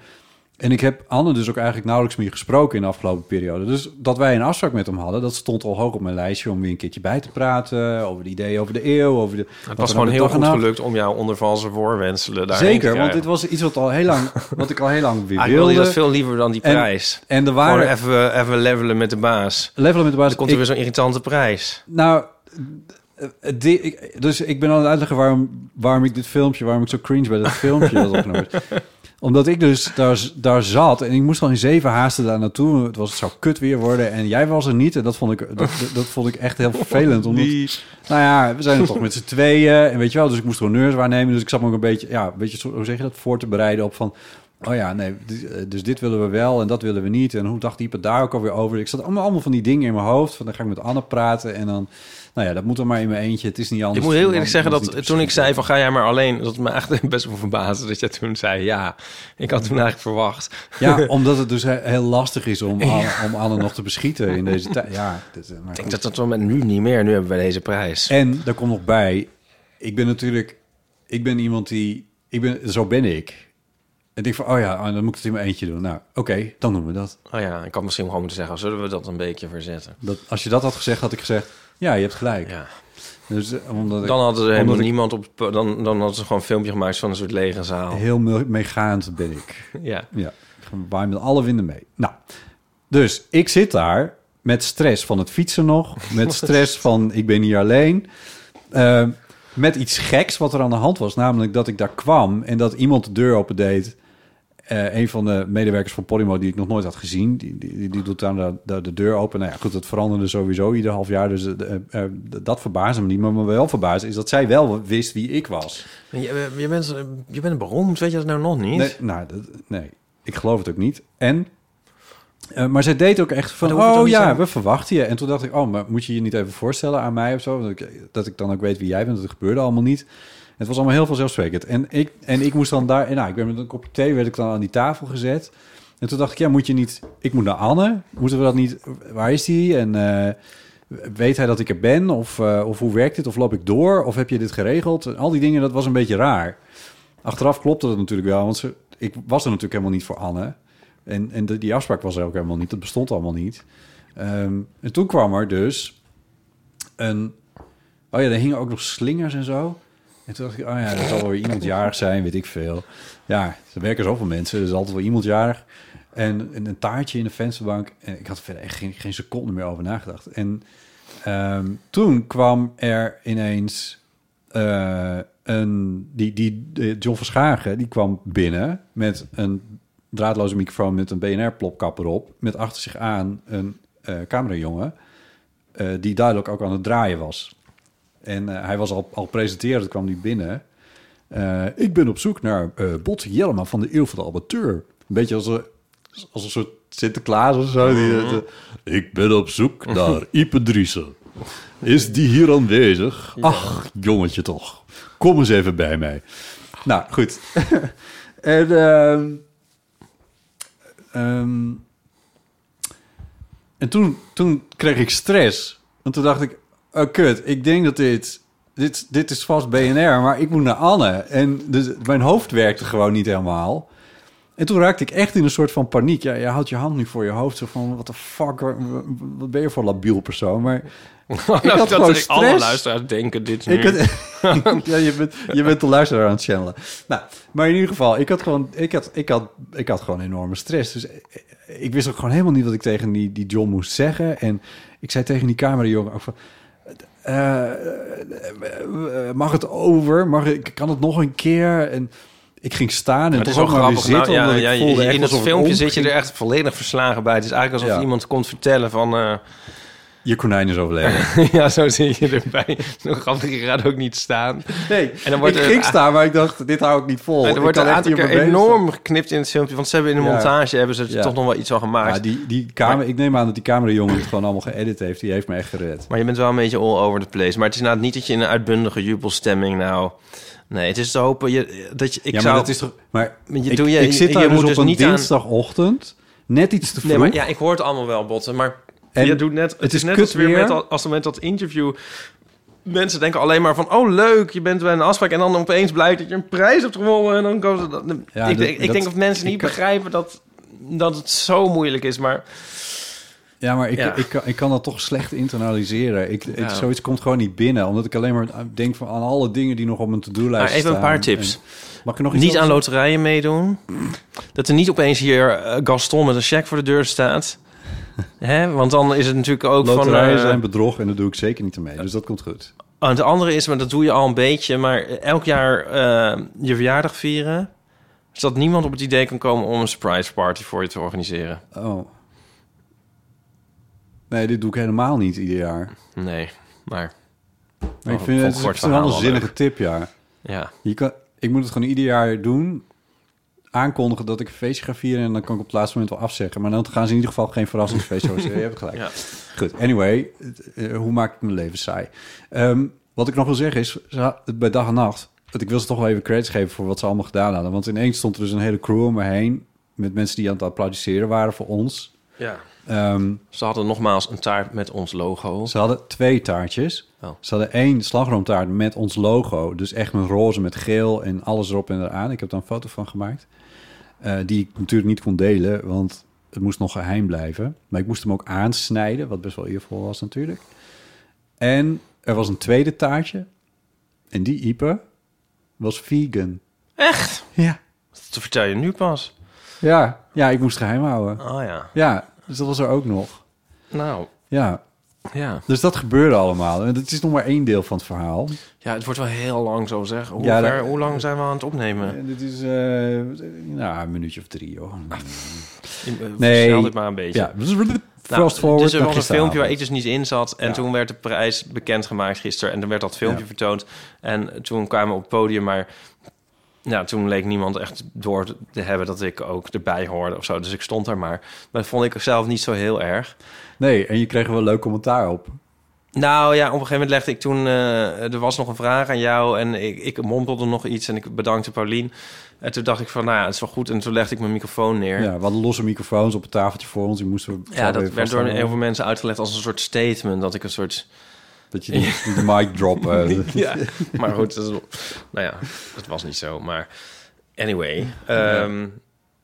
Speaker 1: En ik heb Anne dus ook eigenlijk nauwelijks meer gesproken in de afgelopen periode. Dus dat wij een afspraak met hem hadden, dat stond al hoog op mijn lijstje om weer een keertje bij te praten. Over de ideeën, over de eeuw, over de.
Speaker 2: Het
Speaker 1: wat er
Speaker 2: was
Speaker 1: nou
Speaker 2: gewoon
Speaker 1: met
Speaker 2: heel
Speaker 1: dag en
Speaker 2: goed
Speaker 1: nacht-
Speaker 2: gelukt om jou onder valse voorwenselen daarheen te
Speaker 1: Zeker, want dit
Speaker 2: krijgen.
Speaker 1: was iets wat, al heel
Speaker 2: *laughs*
Speaker 1: lang, wat ik al heel lang weer
Speaker 2: Ah, ik wilde
Speaker 1: wilde.
Speaker 2: dat veel liever dan die
Speaker 1: En-
Speaker 2: prijs.
Speaker 1: En er
Speaker 2: Gewoon
Speaker 1: waren...
Speaker 2: even, even levelen met de baas.
Speaker 1: Levelen met de baas...
Speaker 2: Dan komt er
Speaker 1: ik-
Speaker 2: weer zo'n irritante prijs.
Speaker 1: Nou, eh, eh, die- ik, dus ik ben aan het uitleggen waarom, waarom ik dit filmpje... waarom ik zo cringe bij dat
Speaker 2: *laughs*
Speaker 1: filmpje dat opgenomen is. Omdat ik dus daar, daar zat en ik moest al in zeven haasten daar naartoe. Het, was, het zou kut weer worden en jij was er niet. En dat vond ik, dat, dat- dat vond ik echt heel vervelend.
Speaker 2: Oh,
Speaker 1: Omdat, Nou ja, we zijn er toch met z'n tweeën. En weet je wel, dus ik moest honneurs waarnemen. Dus ik zat me ook een beetje, ja, een beetje, zo- hoe zeg je dat, voor te bereiden op van... Oh ja, nee, di- eh, dus dit willen we wel en dat willen we niet. En hoe dacht Diepe daar ook alweer over? Ik zat allemaal, allemaal van die dingen in mijn hoofd. Van dan ga ik met Anne praten en dan... Nou ja, dat moet dan maar in mijn eentje. Het is niet anders.
Speaker 2: Ik moet heel eerlijk zeggen
Speaker 1: Dan is het
Speaker 2: dat
Speaker 1: niet
Speaker 2: toen ik zei
Speaker 1: verschil.
Speaker 2: van ga jij maar alleen, dat me echt *laughs* best wel verbaasde dat jij toen zei ja. Ik had toen eigenlijk verwacht. *laughs*
Speaker 1: Ja, omdat het dus he- heel lastig is om, Anne- om Anne nog te beschieten in deze tijd. Ja, dit, eh, maar
Speaker 2: Ik
Speaker 1: goed.
Speaker 2: denk dat dat wel met nu niet meer. Nu hebben we deze prijs.
Speaker 1: En daar komt nog bij, ik ben natuurlijk, ik ben iemand die, ik ben, zo ben ik. En ik denk van, oh ja, oh, dan moet ik het in mijn eentje doen. Nou, oké, dan doen we dat.
Speaker 2: Oh ja, ik had misschien gewoon moeten zeggen, zullen we dat een beetje verzetten?
Speaker 1: dat. Als je dat had gezegd, had ik gezegd, ja, je hebt gelijk.
Speaker 2: Ja.
Speaker 1: Dus, eh, omdat ik
Speaker 2: Dan hadden ze helemaal
Speaker 1: Omdat ik-
Speaker 2: niemand op... Dan, dan hadden ze gewoon een filmpje gemaakt van een soort lege zaal.
Speaker 1: heel me- meegaand ben ik.
Speaker 2: Ja.
Speaker 1: Ja, gewoon waai met alle winden mee. Nou, dus ik zit daar met stress van het fietsen nog. Met stress van ik ben hier alleen. Eh, met iets geks wat er aan de hand was. Namelijk dat ik daar kwam en dat iemand de deur opendeed. Eh een van de medewerkers van Podimo die ik nog nooit had gezien. Die, die, die- die doet daar de, de, de deur open. Nou ja, goed, dat veranderde sowieso ieder half jaar. Dus eh, eh, eh, dat verbaasde me niet. Maar wat me wel verbaasde is dat zij wel wist wie ik was.
Speaker 2: Je, je, bent, je bent beroemd, weet je dat nou nog niet?
Speaker 1: *laughs* Nee, nou, dat, nee, ik geloof het ook niet. En, eh, maar zij deed ook echt van,
Speaker 2: Maar dat hoeft toch
Speaker 1: oh
Speaker 2: niet
Speaker 1: ja,
Speaker 2: zo?
Speaker 1: we verwachten je. En toen dacht ik, oh, maar moet je je niet even voorstellen aan mij of zo? Dat ik, eh, dat ik dan ook weet wie jij bent. Dat gebeurde allemaal niet. Het was allemaal heel vanzelfsprekend. En ik, en ik moest dan daar, en nou, ik ben met een kopje thee, werd ik dan aan die tafel gezet. En toen dacht ik, ja, moet je niet, ik moet naar Anne. Moeten we dat niet, waar is die? En eh, weet hij dat ik er ben? Of, eh, of hoe werkt dit? Of loop ik door? Of heb je dit geregeld? En al die dingen, dat was een beetje raar. Achteraf klopte dat natuurlijk wel, want ze, ik was er natuurlijk helemaal niet voor Anne. En, en de- die afspraak was er ook helemaal niet. Dat bestond allemaal niet. Ehm, en toen kwam er dus een... Oh ja, er hingen ook nog slingers en zo. En toen dacht ik, oh ja, dat zal wel weer iemand jarig zijn, weet ik veel. Ja, er werken zoveel mensen, er is altijd wel iemand jarig. En, en een taartje in de vensterbank. En ik had er verder echt geen, geen seconde meer over nagedacht. En ehm, toen kwam er ineens eh, een, die, die, eh, John Verschagen, die kwam binnen met een draadloze microfoon met een BNR-plopkap erop. Met achter zich aan een eh camerajongen eh, die duidelijk ook aan het draaien was. En eh, hij was al, al presenterend, kwam die binnen. Eh, ik ben op zoek naar eh Bot Jellema van de Eeuw van de Amateur. Een beetje als een, als een soort Sinterklaas of zo. Die, eh, de- ik ben op zoek naar Ipe Driessen. Is die hier aanwezig? Ach, jongetje toch. Kom eens even bij mij. Nou, goed. *laughs* en, ehm, ehm, en toen, toen kreeg ik stress. Want toen dacht ik, oh kut, ik denk dat dit... Dit, dit is vast BNR, maar ik moet naar Anne. En dus mijn hoofd werkte gewoon niet helemaal. En toen raakte ik echt in een soort van paniek. Ja, je houdt je hand nu voor je hoofd. Zo van, wat de fuck, wa- wa- wat ben je voor labiel persoon? Maar ik had gewoon
Speaker 2: *laughs* dat ik alle
Speaker 1: stress.
Speaker 2: luisteraars denken dit nu.
Speaker 1: ik
Speaker 2: Hmm.
Speaker 1: had, *laughs* ja, je, bent, je bent de luisteraar aan het channelen. Nou, maar in ieder geval, ik had gewoon, ik had, ik had, ik had gewoon enorme stress. Dus ik wist ook gewoon helemaal niet wat ik tegen die, die John moest zeggen. En ik zei tegen die camerajongen ook van... eh, eh, mag het over? Mag ik, kan het nog een keer? En ik ging staan en
Speaker 2: Maar het is
Speaker 1: toch
Speaker 2: wel
Speaker 1: ook maar weer
Speaker 2: grappig.
Speaker 1: zitten.
Speaker 2: Nou, ja,
Speaker 1: omdat ik
Speaker 2: ja, je-
Speaker 1: voelde
Speaker 2: je-
Speaker 1: echt
Speaker 2: in dat
Speaker 1: alsof het
Speaker 2: filmpje
Speaker 1: om
Speaker 2: zit je
Speaker 1: ging.
Speaker 2: er echt volledig verslagen bij. Het is eigenlijk alsof
Speaker 1: Ja.
Speaker 2: iemand komt vertellen van... eh, *laughs*
Speaker 1: je konijn is overleden.
Speaker 2: ja, zo zit je erbij. *laughs* Zo'n grappige gaat ook niet staan.
Speaker 1: Nee,
Speaker 2: En dan wordt
Speaker 1: ik
Speaker 2: er-
Speaker 1: ging staan, maar ik dacht, dit hou ik niet vol.
Speaker 2: En er wordt
Speaker 1: Oh, Ik
Speaker 2: een
Speaker 1: kan echt
Speaker 2: aantal keer
Speaker 1: hier op mijn been
Speaker 2: enorm geknipt in het filmpje. Want ze hebben in de
Speaker 1: Ja.
Speaker 2: montage hebben ze er
Speaker 1: Ja.
Speaker 2: toch nog wel iets van
Speaker 1: staan.
Speaker 2: gemaakt.
Speaker 1: Ja, die, die kamer, ik neem aan dat die camerajongen het gewoon allemaal geëdit heeft. Die heeft me echt gered.
Speaker 2: Maar je bent wel een beetje all over the place. Maar het is inderdaad niet dat je in een uitbundige jubelstemming nou... Nee, het is te hopen je, dat je... Ik
Speaker 1: ja, maar
Speaker 2: zou,
Speaker 1: dat is toch... Maar
Speaker 2: Maar je
Speaker 1: ik,
Speaker 2: doe je-
Speaker 1: ik zit
Speaker 2: je
Speaker 1: daar dus
Speaker 2: moet
Speaker 1: op
Speaker 2: dus
Speaker 1: een
Speaker 2: niet aan-
Speaker 1: dinsdagochtend. Net iets te vroeg.
Speaker 2: Nee, maar ja, ik hoor het allemaal wel, Botten. Maar
Speaker 1: En
Speaker 2: je doet net... Het,
Speaker 1: het
Speaker 2: is
Speaker 1: is
Speaker 2: net
Speaker 1: kut
Speaker 2: als weer
Speaker 1: weer.
Speaker 2: met, dat- als met dat interview... Mensen denken alleen maar van... Oh, leuk, je bent bij een afspraak. En dan opeens blijkt dat je een prijs hebt gewonnen. En dan komen ze... dat-
Speaker 1: Ja, dat-
Speaker 2: ik, denk- ik
Speaker 1: dat-
Speaker 2: denk dat mensen niet
Speaker 1: ik-
Speaker 2: begrijpen dat, dat het zo moeilijk is. Maar
Speaker 1: Ja, maar ik,
Speaker 2: Ja.
Speaker 1: Ik, kan, ik kan dat toch slecht internaliseren. Ik, ik-
Speaker 2: Ja.
Speaker 1: zoiets komt gewoon niet binnen. Omdat ik alleen maar denk van aan alle dingen die nog op mijn to-do-lijst
Speaker 2: Maar
Speaker 1: staan.
Speaker 2: even een paar tips.
Speaker 1: En- mag ik er nog iets
Speaker 2: niet
Speaker 1: over
Speaker 2: aan loterijen meedoen. Dat er niet opeens hier eh, Gaston met een cheque voor de
Speaker 1: *laughs*
Speaker 2: deur staat. Hè? Want dan is het natuurlijk ook
Speaker 1: zeggen? Loterijen
Speaker 2: van... eh,
Speaker 1: zijn bedrog en dat doe ik zeker niet mee. Dus dat komt goed.
Speaker 2: Oh, het andere is, maar dat doe je al een beetje, maar elk jaar eh, je verjaardag vieren. Zodat niemand op het idee kan komen om een surprise party voor je te organiseren.
Speaker 1: Oh. Nee, dit doe ik helemaal niet ieder jaar.
Speaker 2: Nee, maar
Speaker 1: Maar ik
Speaker 2: Oh,
Speaker 1: vind
Speaker 2: vond ik
Speaker 1: het,
Speaker 2: kort
Speaker 1: het is een
Speaker 2: verhaal
Speaker 1: wel
Speaker 2: wel
Speaker 1: een zinnige tip, ja.
Speaker 2: ja.
Speaker 1: Je kan, ik moet het gewoon ieder jaar doen. Aankondigen dat ik een feestje ga vieren en dan kan ik op het laatste moment wel afzeggen. Maar dan gaan ze in ieder geval geen verrassingsfeestje organiseren. Je hebt gelijk.
Speaker 2: Ja.
Speaker 1: Goed, anyway, het, eh, hoe maak ik mijn leven saai? Ehm, wat ik nog wil zeggen is, ze had- bij dag en nacht... want ik wil ze toch wel even credits geven voor wat ze allemaal gedaan hadden. Want ineens stond er dus een hele crew om me heen... met mensen die aan het applaudisseren waren voor ons.
Speaker 2: ja.
Speaker 1: Ehm,
Speaker 2: Ze hadden nogmaals een taart met ons logo.
Speaker 1: ze hadden twee taartjes.
Speaker 2: Oh.
Speaker 1: Ze hadden één slagroomtaart met ons logo. Dus echt met roze, met geel en alles erop en eraan. Ik heb daar een foto van gemaakt. Eh, die ik natuurlijk niet kon delen, want het moest nog geheim blijven. Maar ik moest hem ook aansnijden, wat best wel eervol was natuurlijk. En er was een tweede taartje. En die Ipe was vegan.
Speaker 2: Echt?
Speaker 1: Ja.
Speaker 2: Dat vertel je nu pas.
Speaker 1: Ja, ja ik moest geheim houden.
Speaker 2: Oh ja.
Speaker 1: Ja, dus dat was er ook nog.
Speaker 2: Nou,
Speaker 1: Ja,
Speaker 2: ja.
Speaker 1: dus dat gebeurde allemaal. En dat is nog maar één deel van het verhaal.
Speaker 2: Ja, het wordt wel heel lang zo zeg. Hoe,
Speaker 1: Ja, dat-
Speaker 2: ver- hoe lang zijn we aan het opnemen?
Speaker 1: En dit is eh, nou, een minuutje of drie, joh.
Speaker 2: Nee. Versnel dit eh, maar een beetje.
Speaker 1: Ja, dus fast
Speaker 2: Ah, Nou,
Speaker 1: forward.
Speaker 2: Dus er
Speaker 1: naar
Speaker 2: was een
Speaker 1: gisteravond.
Speaker 2: filmpje waar ik dus niet in zat. En
Speaker 1: Ja.
Speaker 2: toen werd de prijs bekendgemaakt gisteren. En toen werd dat filmpje
Speaker 1: Ja.
Speaker 2: vertoond. En toen kwamen we op het podium. Maar ja, toen leek niemand echt door te hebben dat ik ook erbij hoorde of zo. Dus ik stond daar maar. Maar dat vond ik zelf niet zo heel erg.
Speaker 1: Nee, en je kreeg er wel leuk commentaar op.
Speaker 2: Nou ja, op een gegeven moment legde ik toen... eh, er was nog een vraag aan jou en ik, ik mompelde nog iets. En ik bedankte Paulien. En toen dacht ik van, nou ja, het is wel goed. En toen legde ik mijn microfoon neer.
Speaker 1: Ja, we hadden losse microfoons op het tafeltje voor ons. Die moesten we
Speaker 2: Ja,
Speaker 1: zo
Speaker 2: dat
Speaker 1: even
Speaker 2: werd door
Speaker 1: vasthouden.
Speaker 2: heel veel mensen uitgelegd als een soort statement. Dat ik een soort...
Speaker 1: Dat je niet de mic drop... eh,
Speaker 2: *laughs* ja, maar goed, dat is- nou ja, dat was niet zo. Maar anyway, ehm,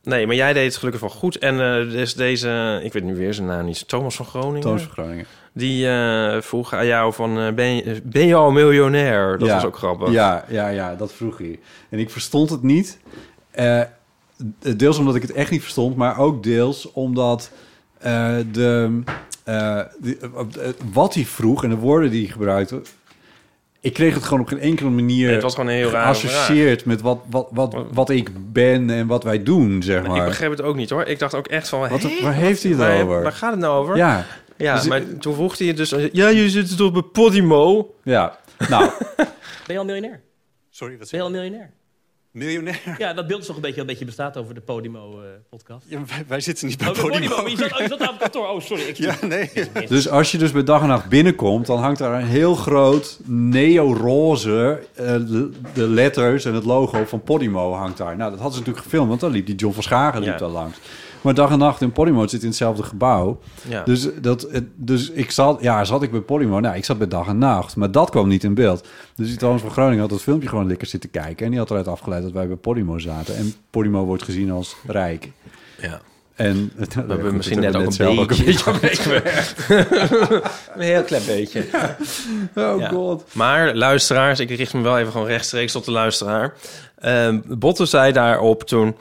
Speaker 2: nee, maar jij deed het gelukkig wel goed. En eh, dus deze, ik weet nu weer zijn naam niet, Thomas van Groningen,
Speaker 1: Thomas van Groningen.
Speaker 2: die eh, vroeg aan jou van, eh, ben, je, ben je al miljonair? Dat
Speaker 1: Ja.
Speaker 2: was ook grappig.
Speaker 1: Ja, ja, ja, dat vroeg hij. En ik verstond het niet. Eh, deels omdat ik het echt niet verstond, maar ook deels omdat eh, de, eh, de- eh, wat hij vroeg en de woorden die hij gebruikte. Ik kreeg het gewoon op geen enkele manier
Speaker 2: Nee, het was gewoon een heel rare
Speaker 1: geassocieerd met wat, wat, wat, wat ik ben en wat wij doen, zeg
Speaker 2: Ik
Speaker 1: maar.
Speaker 2: begreep het ook niet hoor. Ik dacht ook echt van...
Speaker 1: Wat,
Speaker 2: hé,
Speaker 1: waar heeft hij het
Speaker 2: waar,
Speaker 1: over?
Speaker 2: waar gaat het nou over?
Speaker 1: Ja,
Speaker 2: Ja,
Speaker 1: Dus-
Speaker 2: maar toen vroeg hij het dus... Ja, je zit toch bij Podimo?
Speaker 1: ja. Nou,
Speaker 5: Ben je al miljonair?
Speaker 4: Sorry, wat
Speaker 5: Ben
Speaker 4: zeg je?
Speaker 5: je al miljonair?
Speaker 4: Miljonair.
Speaker 5: Ja, dat beeld is toch een beetje een beetje bestaat over de Podimo-podcast.
Speaker 4: Ja, wij, wij zitten niet bij
Speaker 5: oh, de Podimo.
Speaker 4: Podimo.
Speaker 5: Je zat, oh, je zat daar op kantoor. Oh, sorry. Ik
Speaker 4: Ja, nee.
Speaker 1: Dus als je dus bij dag en nacht binnenkomt, dan hangt daar een heel groot neoroze eh, le- de letters en het logo van Podimo hangt daar. Nou, dat hadden ze natuurlijk gefilmd, want dan liep die John van Schagen liep
Speaker 2: Ja.
Speaker 1: daar langs. Maar dag en nacht in Podimo het zit in hetzelfde gebouw.
Speaker 2: Ja.
Speaker 1: Dus, dat, eh, dus ik zat, ja, zat ik bij Podimo? Nou, ik zat bij dag en nacht, maar dat kwam niet in beeld. Dus die Thomas van Groningen had dat filmpje gewoon lekker zitten kijken en die had eruit afgeleid dat wij bij Podimo zaten. En Podimo wordt gezien als rijk.
Speaker 2: ja.
Speaker 1: En
Speaker 2: We
Speaker 1: *laughs*
Speaker 2: hebben misschien net
Speaker 1: hebben
Speaker 2: ook
Speaker 1: we
Speaker 2: een
Speaker 1: zelf ook
Speaker 2: beetje... *laughs* een heel klein beetje.
Speaker 1: *laughs* Oh
Speaker 2: Ja.
Speaker 1: god.
Speaker 2: Maar luisteraars, ik richt me wel even gewoon rechtstreeks tot de luisteraar. Ehm Botte zei daarop toen...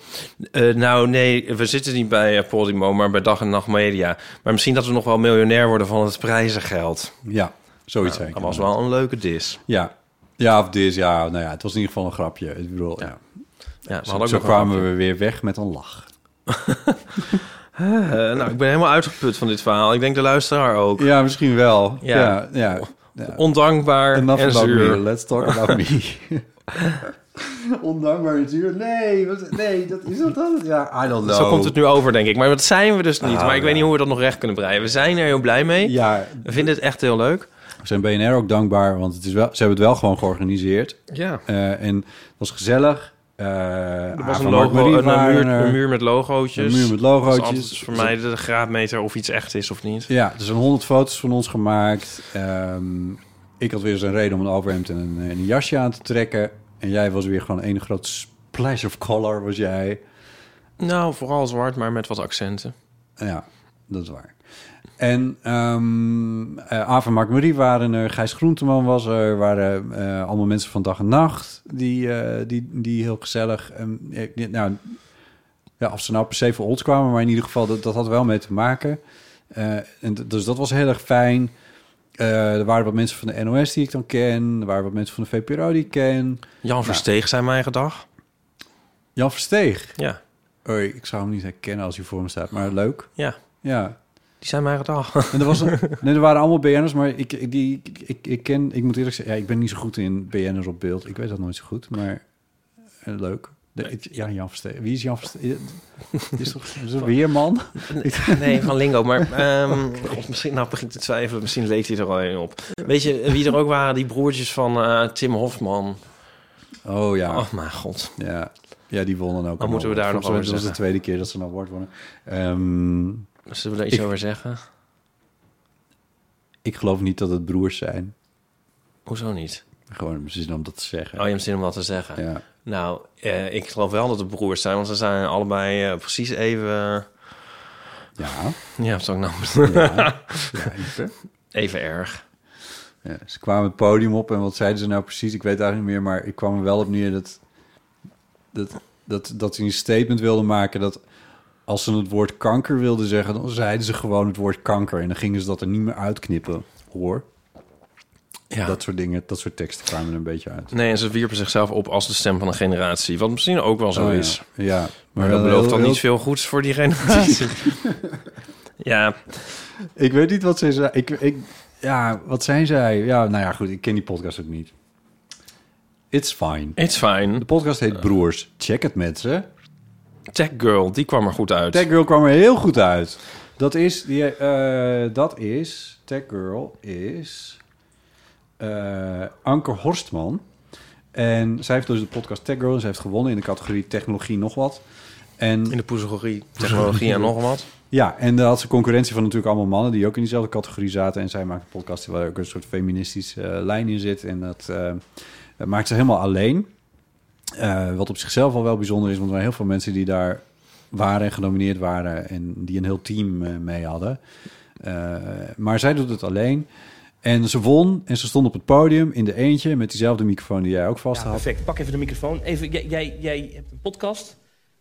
Speaker 2: eh, nou nee, we zitten niet bij eh, Podimo, maar bij Dag en Nacht Media. Maar misschien dat we nog wel miljonair worden van het prijzengeld.
Speaker 1: Ja, zoiets zijn.
Speaker 2: Dat was wel een leuke dis.
Speaker 1: Ja. Ja, of dit, ja, nou ja, het was in ieder geval een grapje. Ik bedoel, ja.
Speaker 2: Ja, we
Speaker 1: Zo,
Speaker 2: hadden ook
Speaker 1: zo
Speaker 2: nog wel-
Speaker 1: kwamen we weer weg met een lach.
Speaker 2: Eh, nou, ik ben helemaal uitgeput van dit verhaal. Ik denk de luisteraar ook.
Speaker 1: Ja, misschien wel.
Speaker 2: Oh. Ja.
Speaker 1: Ja, ja. ja.
Speaker 2: Ondankbaar
Speaker 1: Enough
Speaker 2: en
Speaker 1: about me.
Speaker 2: zuur.
Speaker 1: Let's talk about me. *laughs* Ondankbaar en zuur. Nee, wat- nee, dat is dat altijd. Ja, I don't know.
Speaker 2: Zo komt het nu over, denk ik. Maar dat zijn we dus niet.
Speaker 1: Ah,
Speaker 2: maar ik weet
Speaker 1: ja.
Speaker 2: niet hoe we dat nog recht kunnen breien. We zijn er heel blij mee.
Speaker 1: Ja,
Speaker 2: We vinden het echt heel leuk.
Speaker 1: we zijn BNR ook dankbaar, want het is wel, ze hebben het wel gewoon georganiseerd.
Speaker 2: Ja.
Speaker 1: Eh, en het was gezellig. Eh,
Speaker 2: Er
Speaker 1: Aaf
Speaker 2: was een,
Speaker 1: en Mark
Speaker 2: logo,
Speaker 1: Marie
Speaker 2: een,
Speaker 1: waren
Speaker 2: muur,
Speaker 1: er.
Speaker 2: een muur met logootjes.
Speaker 1: Een muur met
Speaker 2: Dat is
Speaker 1: logootjes.
Speaker 2: altijd voor mij de graadmeter of iets echt is of niet.
Speaker 1: Ja, er zijn honderd foto's van ons gemaakt. Ehm, ik had weer eens een reden om een overhemd en een, eh, en een jasje aan te trekken. En jij was weer gewoon één groot splash of color, was jij.
Speaker 2: Nou, vooral zwart, maar met wat accenten.
Speaker 1: Ja, dat is waar. En ehm eh Aaf en Mark Marie waren er, Gijs Groenteman was er, waren eh, allemaal mensen van dag en nacht die, eh, die, die heel gezellig. ehm, eh, die- nou, ja, of ze nou per se voor ons kwamen, maar in ieder geval, dat, dat had wel mee te maken. Eh, en d- dus dat was heel erg fijn. Eh, er waren wat mensen van de NOS die ik dan ken, er waren wat mensen van de VPRO die ik ken.
Speaker 2: Jan Versteeg zijn mijn gedag.
Speaker 1: Jan Versteeg,
Speaker 2: Ja,
Speaker 1: Oei, ik zou hem niet herkennen als hij voor me staat, maar leuk.
Speaker 2: ja.
Speaker 1: Ja,
Speaker 2: Die zijn mijn
Speaker 1: *laughs*
Speaker 2: gedag.
Speaker 1: En er, was
Speaker 2: *laughs*
Speaker 1: een- nee, er waren allemaal BN'ers, maar ik, ik, die, ik, ik ken... Ik moet eerlijk zeggen, ja, ik ben niet zo goed in BN'ers op beeld. Ik weet dat nooit zo goed, maar eh, leuk. De- ik- ja, Jan Versteen. Wie is Jan Versteen? Dit is
Speaker 2: *laughs*
Speaker 1: toch is een weerman?
Speaker 2: Nee, van Lingo. Maar ehm, god, misschien nou begint te twijfelen. Misschien leek hij er al een op. Weet je wie er ook waren? Die broertjes van eh, Tim Hofman.
Speaker 1: Oh ja,
Speaker 2: Oh mijn god.
Speaker 1: ja. Ja, die wonnen ook.
Speaker 2: Dan moeten we
Speaker 1: een
Speaker 2: daar
Speaker 1: award.
Speaker 2: nog over
Speaker 1: Dat was de
Speaker 2: zeggen.
Speaker 1: tweede keer dat ze een award wonnen. Ehm,
Speaker 2: Zullen we daar iets
Speaker 1: Ik-
Speaker 2: over zeggen?
Speaker 1: ik geloof niet dat het broers zijn.
Speaker 2: Hoezo niet?
Speaker 1: Gewoon precies om dat te zeggen.
Speaker 2: Oh, je hebt zin om wat te zeggen.
Speaker 1: ja.
Speaker 2: Nou, eh, ik geloof wel dat het broers zijn, want ze zijn allebei eh, precies even.
Speaker 1: Ja.
Speaker 2: ja, wat zou ik nou *laughs*
Speaker 1: Ja. ja, even.
Speaker 2: Even erg.
Speaker 1: Ja, ze kwamen het podium op en wat zeiden ze nou precies? Ik weet eigenlijk niet meer, maar ik kwam er wel op neer dat, dat, dat, dat ze een statement wilden maken dat als ze het woord kanker wilden zeggen, dan zeiden ze gewoon het woord kanker en dan gingen ze dat er niet meer uitknippen, hoor.
Speaker 2: Ja.
Speaker 1: Dat soort dingen, dat soort teksten kwamen er een beetje uit.
Speaker 2: Nee, en ze wierpen zichzelf op als de stem van een generatie. Wat misschien ook wel zo
Speaker 1: Oh, ja.
Speaker 2: is.
Speaker 1: Ja,
Speaker 2: Maar dat
Speaker 1: wel
Speaker 2: belooft
Speaker 1: heel-
Speaker 2: dan
Speaker 1: heel-
Speaker 2: niet veel goeds voor die
Speaker 1: *laughs*
Speaker 2: generatie. ja,
Speaker 1: Ik weet niet wat zij zei. Ik, ik, ja, wat zijn zij? Ja, nou ja, goed, ik ken die podcast ook niet. It's fine.
Speaker 2: it's fine.
Speaker 1: De podcast heet Broers. Check het met ze.
Speaker 2: Tech Girl, die kwam er goed uit.
Speaker 1: Tech Girl kwam er heel goed uit. Dat is, die, eh, dat is, Tech Girl is eh, Anker Horstman. En zij heeft dus de podcast Tech Girl. En zij heeft gewonnen in de categorie technologie nog wat. En
Speaker 2: In de poezelgorie, technologie en nog wat.
Speaker 1: ja, en daar had ze concurrentie van natuurlijk allemaal mannen die ook in diezelfde categorie zaten. En zij maakt een podcast waar ook een soort feministische eh, lijn in zit. En dat eh, dat maakt ze helemaal alleen. Eh, wat op zichzelf al wel bijzonder is, want er waren heel veel mensen die daar waren en genomineerd waren. En die een heel team eh, mee hadden. Eh, maar zij doet het alleen. En ze won en ze stond op het podium in de eentje met diezelfde microfoon die jij ook vast
Speaker 5: Ja,
Speaker 1: had.
Speaker 5: perfect. Pak even de microfoon. Even, jij, jij, jij hebt een podcast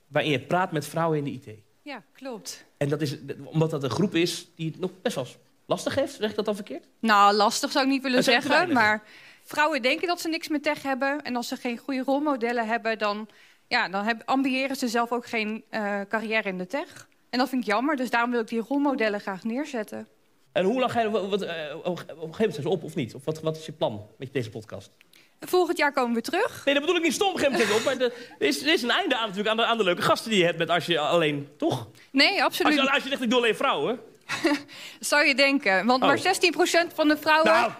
Speaker 5: waarin je praat met vrouwen in de IT.
Speaker 6: Ja, klopt.
Speaker 5: En dat is omdat dat een groep is die het nog best wel lastig heeft. Zeg ik dat dan verkeerd?
Speaker 6: Nou, lastig zou ik niet willen
Speaker 5: Dat zou ik
Speaker 6: zeggen,
Speaker 5: bijna
Speaker 6: maar vrouwen denken dat ze niks met tech hebben. En als ze geen goede rolmodellen hebben, dan, ja, dan heb, ambiëren ze zelf ook geen eh, carrière in de tech. En dat vind ik jammer, dus daarom wil ik die rolmodellen graag neerzetten.
Speaker 5: En hoe lang ga je... Wat, wat, eh, op een gegeven moment zijn ze op of niet? Of wat, wat is je plan met deze podcast?
Speaker 6: Volgend jaar komen we terug.
Speaker 5: Nee, dat bedoel ik niet stom. Op een gegeven moment zijn ze op. Maar de- er, is, er is een einde aan natuurlijk aan de, aan de leuke gasten die je hebt met als je alleen... Toch?
Speaker 6: Nee,
Speaker 5: Als
Speaker 6: absoluut.
Speaker 5: je,
Speaker 6: niet.
Speaker 5: als je zegt ik doe alleen vrouwen.
Speaker 6: Zou je denken, want
Speaker 5: Oh.
Speaker 6: maar 16% van de vrouwen...
Speaker 5: Nou,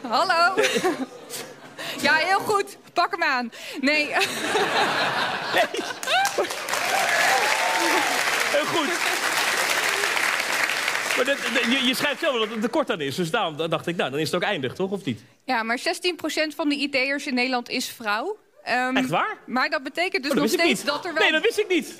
Speaker 6: *laughs* Hallo! ja, heel goed. Pak hem aan. Nee, *laughs*
Speaker 5: heel Eh,
Speaker 6: *laughs*
Speaker 5: goed. Maar dat- dat- je, je schrijft zelf wel dat het tekort aan is. Dus daarom dacht ik, nou, dan is het ook eindig, toch? Of niet?
Speaker 6: ja, maar 16% van de IT'ers in Nederland is vrouw. Ehm,
Speaker 5: Echt waar? Oh,
Speaker 6: Maar dat betekent dus
Speaker 5: dat
Speaker 6: nog
Speaker 5: wist ik
Speaker 6: steeds
Speaker 5: niet.
Speaker 6: dat er wel...
Speaker 5: Nee, dat wist ik niet.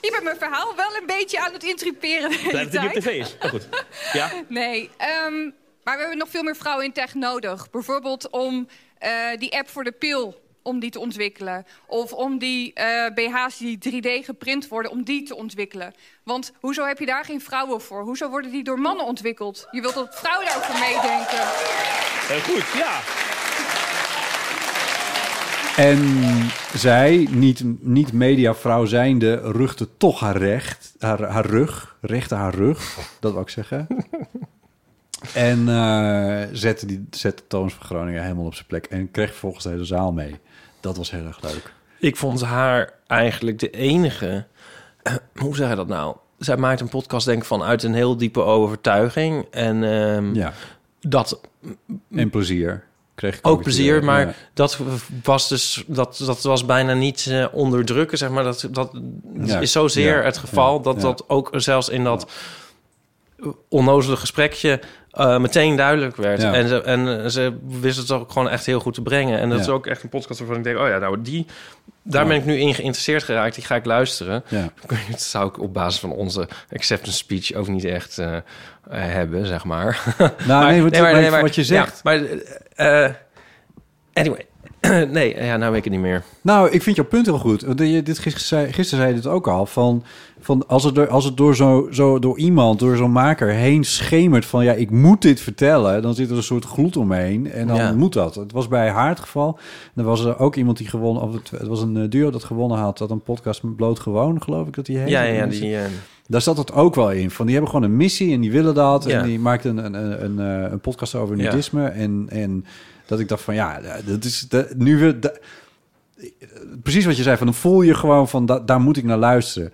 Speaker 6: Je bent mijn verhaal wel een beetje aan het intruperen de hele
Speaker 5: Blijf dat het niet
Speaker 6: tijd.
Speaker 5: op tv is. Maar goed. Ja.
Speaker 6: Nee, ehm, maar we hebben nog veel meer vrouwen in tech nodig. Bijvoorbeeld om eh, die app voor de pil, om die te ontwikkelen. Of om die eh, BH's die 3D geprint worden, om die te ontwikkelen. Want hoezo heb je daar geen vrouwen voor? Hoezo worden die door mannen ontwikkeld? Je wilt dat vrouwen daarover meedenken.
Speaker 5: Heel goed, ja.
Speaker 1: En zij, niet, niet mediavrouw zijnde, rugte toch haar recht, haar, haar rug, rechte haar rug, dat wou ik
Speaker 2: *laughs*
Speaker 1: zeggen. En eh, zette, die, zette Toons van Groningen helemaal op zijn plek en kreeg volgens de hele zaal mee. Dat was heel erg leuk.
Speaker 2: Ik vond haar eigenlijk de enige. *clears throat* Hoe zeg je dat nou? Zij maakt een podcast, denk ik, vanuit een heel diepe overtuiging. En ehm,
Speaker 1: Ja.
Speaker 2: dat
Speaker 1: En plezier. Kreeg ik
Speaker 2: Mm. ook plezier, maar
Speaker 1: ja. Nou,
Speaker 2: dat was dus dat, dat was bijna niet eh, onderdrukken, zeg maar. Dat, dat
Speaker 1: Ja,
Speaker 2: is zozeer
Speaker 1: ja,
Speaker 2: het geval
Speaker 1: ja,
Speaker 2: dat
Speaker 1: ja.
Speaker 2: dat ook zelfs in dat onnozele gesprekje eh, meteen duidelijk werd.
Speaker 1: Ja.
Speaker 2: En, ze, en eh, ze wist het ook gewoon echt heel goed te brengen. En dat
Speaker 1: Ja.
Speaker 2: is ook echt een podcast waarvan ik denk, oh ja, nou die, daar ben ik nu in geïnteresseerd geraakt. Die ga ik luisteren.
Speaker 1: Ja.
Speaker 2: *laughs* Dat zou ik op basis van onze acceptance speech ook niet echt eh, eh, hebben, zeg maar.
Speaker 1: Nou, nee, wat,
Speaker 2: maar-
Speaker 1: maar
Speaker 2: maar-
Speaker 1: wat je zegt.
Speaker 2: ja, maar eh, eh, anyway. *clears throat* nee, ja, nou weet ik het niet meer.
Speaker 1: Nou, ik vind jouw punt heel goed. Want je- Dit, gisteren, zei, gisteren zei je dit ook al. Van, van als het, door, als het door, zo, zo, door iemand, door zo'n maker heen schemert van... ja, ik moet dit vertellen, dan zit er een soort gloed omheen. En dan
Speaker 2: Ja.
Speaker 1: moet dat. Het was bij haar het geval. Er was er ook iemand die gewonnen... Of het, het was een eh, duo dat gewonnen had. Dat een podcast met Bloot Gewoon, geloof ik dat die heet.
Speaker 2: ja, ja, die, eh,
Speaker 1: Daar zat het ook wel in. Van die hebben gewoon een missie en die willen dat.
Speaker 2: Ja.
Speaker 1: En die maakte een, een, een, een, eh, een podcast over
Speaker 2: Ja.
Speaker 1: nudisme. En, en dat ik dacht van ja, dat is dat, nu we. da- precies wat je zei, van dan voel je gewoon van da- daar moet ik naar luisteren.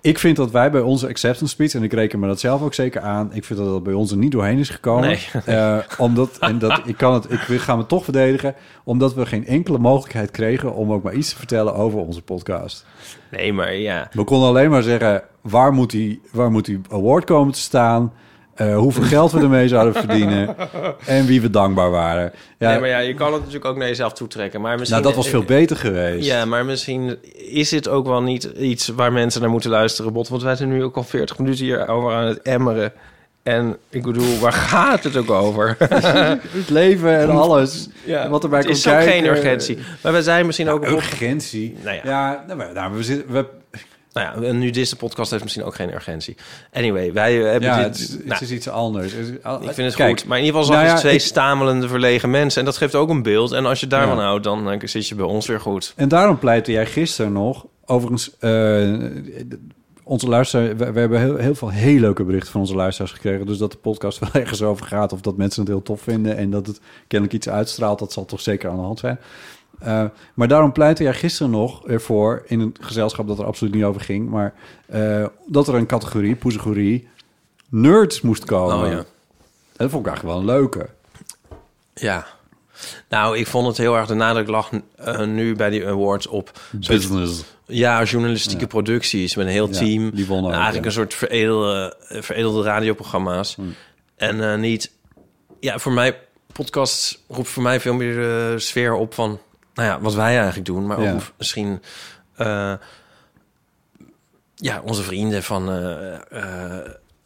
Speaker 1: Ik vind dat wij bij onze acceptance speech, en ik reken me dat zelf ook zeker aan, ik vind dat dat bij ons er niet doorheen is gekomen.
Speaker 2: Nee.
Speaker 1: Eh, omdat, en dat, ik kan het, ik wil- ga me toch verdedigen, omdat we geen enkele mogelijkheid kregen om ook maar iets te vertellen over onze podcast.
Speaker 2: nee, maar ja.
Speaker 1: We konden alleen maar zeggen waar moet die, waar moet die award komen te staan, eh, hoeveel geld we ermee zouden verdienen en wie we dankbaar waren. Ja,
Speaker 2: Nee, maar ja, je kan het natuurlijk ook naar jezelf toetrekken. Maar misschien, eh,
Speaker 1: nou, dat was veel beter geweest.
Speaker 2: Ja, maar misschien is dit ook wel niet iets waar mensen naar moeten luisteren, Bot. Want wij zijn nu ook al 40 minuten hier over aan het emmeren. En ik bedoel, waar *laughs* gaat het ook
Speaker 1: *laughs*
Speaker 2: over?
Speaker 1: Het leven en alles. en wat erbij
Speaker 2: het
Speaker 1: komt
Speaker 2: is ook
Speaker 1: kijken. eh,
Speaker 2: geen urgentie. Maar we zijn misschien ook... op-
Speaker 1: Urgentie.
Speaker 2: Nou ja.
Speaker 1: ja nou, maar- nou, we zitten, we,
Speaker 2: Nou ja, een nudiste podcast heeft misschien ook geen urgentie. Anyway, wij hebben
Speaker 1: ja,
Speaker 2: dit...
Speaker 1: het, is, het
Speaker 2: nou,
Speaker 1: is iets anders. Het is-
Speaker 2: Ik vind het
Speaker 1: Kijk,
Speaker 2: goed. Maar in ieder geval zag
Speaker 1: nou
Speaker 2: je
Speaker 1: ja,
Speaker 2: twee
Speaker 1: ik-
Speaker 2: stamelende, verlegen mensen. En dat geeft ook een beeld. En als je daarvan
Speaker 1: Ja.
Speaker 2: houdt, dan eh, zit je bij ons weer goed.
Speaker 1: En daarom pleitte jij gisteren nog, overigens, eh, onze luisteraars, we, we hebben heel, heel veel heel leuke berichten van onze luisteraars gekregen. Dus dat de podcast *laughs* wel ergens over gaat of dat mensen het heel tof vinden en dat het kennelijk iets uitstraalt, dat zal toch zeker aan de hand zijn. Eh, maar daarom pleitte jij gisteren nog ervoor, in een gezelschap dat er absoluut niet over ging, maar eh, dat er een categorie, poesegorie, nerds moest komen.
Speaker 2: Oh, ja.
Speaker 1: En dat vond ik eigenlijk wel een leuke.
Speaker 2: Ja. Nou, ik vond het heel erg... De nadruk lag eh, nu bij die awards op...
Speaker 1: Dus
Speaker 2: soort- Ja, journalistieke producties met een heel
Speaker 1: Ja,
Speaker 2: team. Nou,
Speaker 1: die wonnen ook,
Speaker 2: Eigenlijk
Speaker 1: ja. Hmm.
Speaker 2: een soort veredelde, eh, veredelde radioprogramma's. En eh, niet... Ja, voor mij... Podcasts roept voor mij veel meer de sfeer op van... Nou ja, wat wij eigenlijk doen. Maar
Speaker 1: Ja.
Speaker 2: ook misschien... eh, ja, onze vrienden van... eh, eh,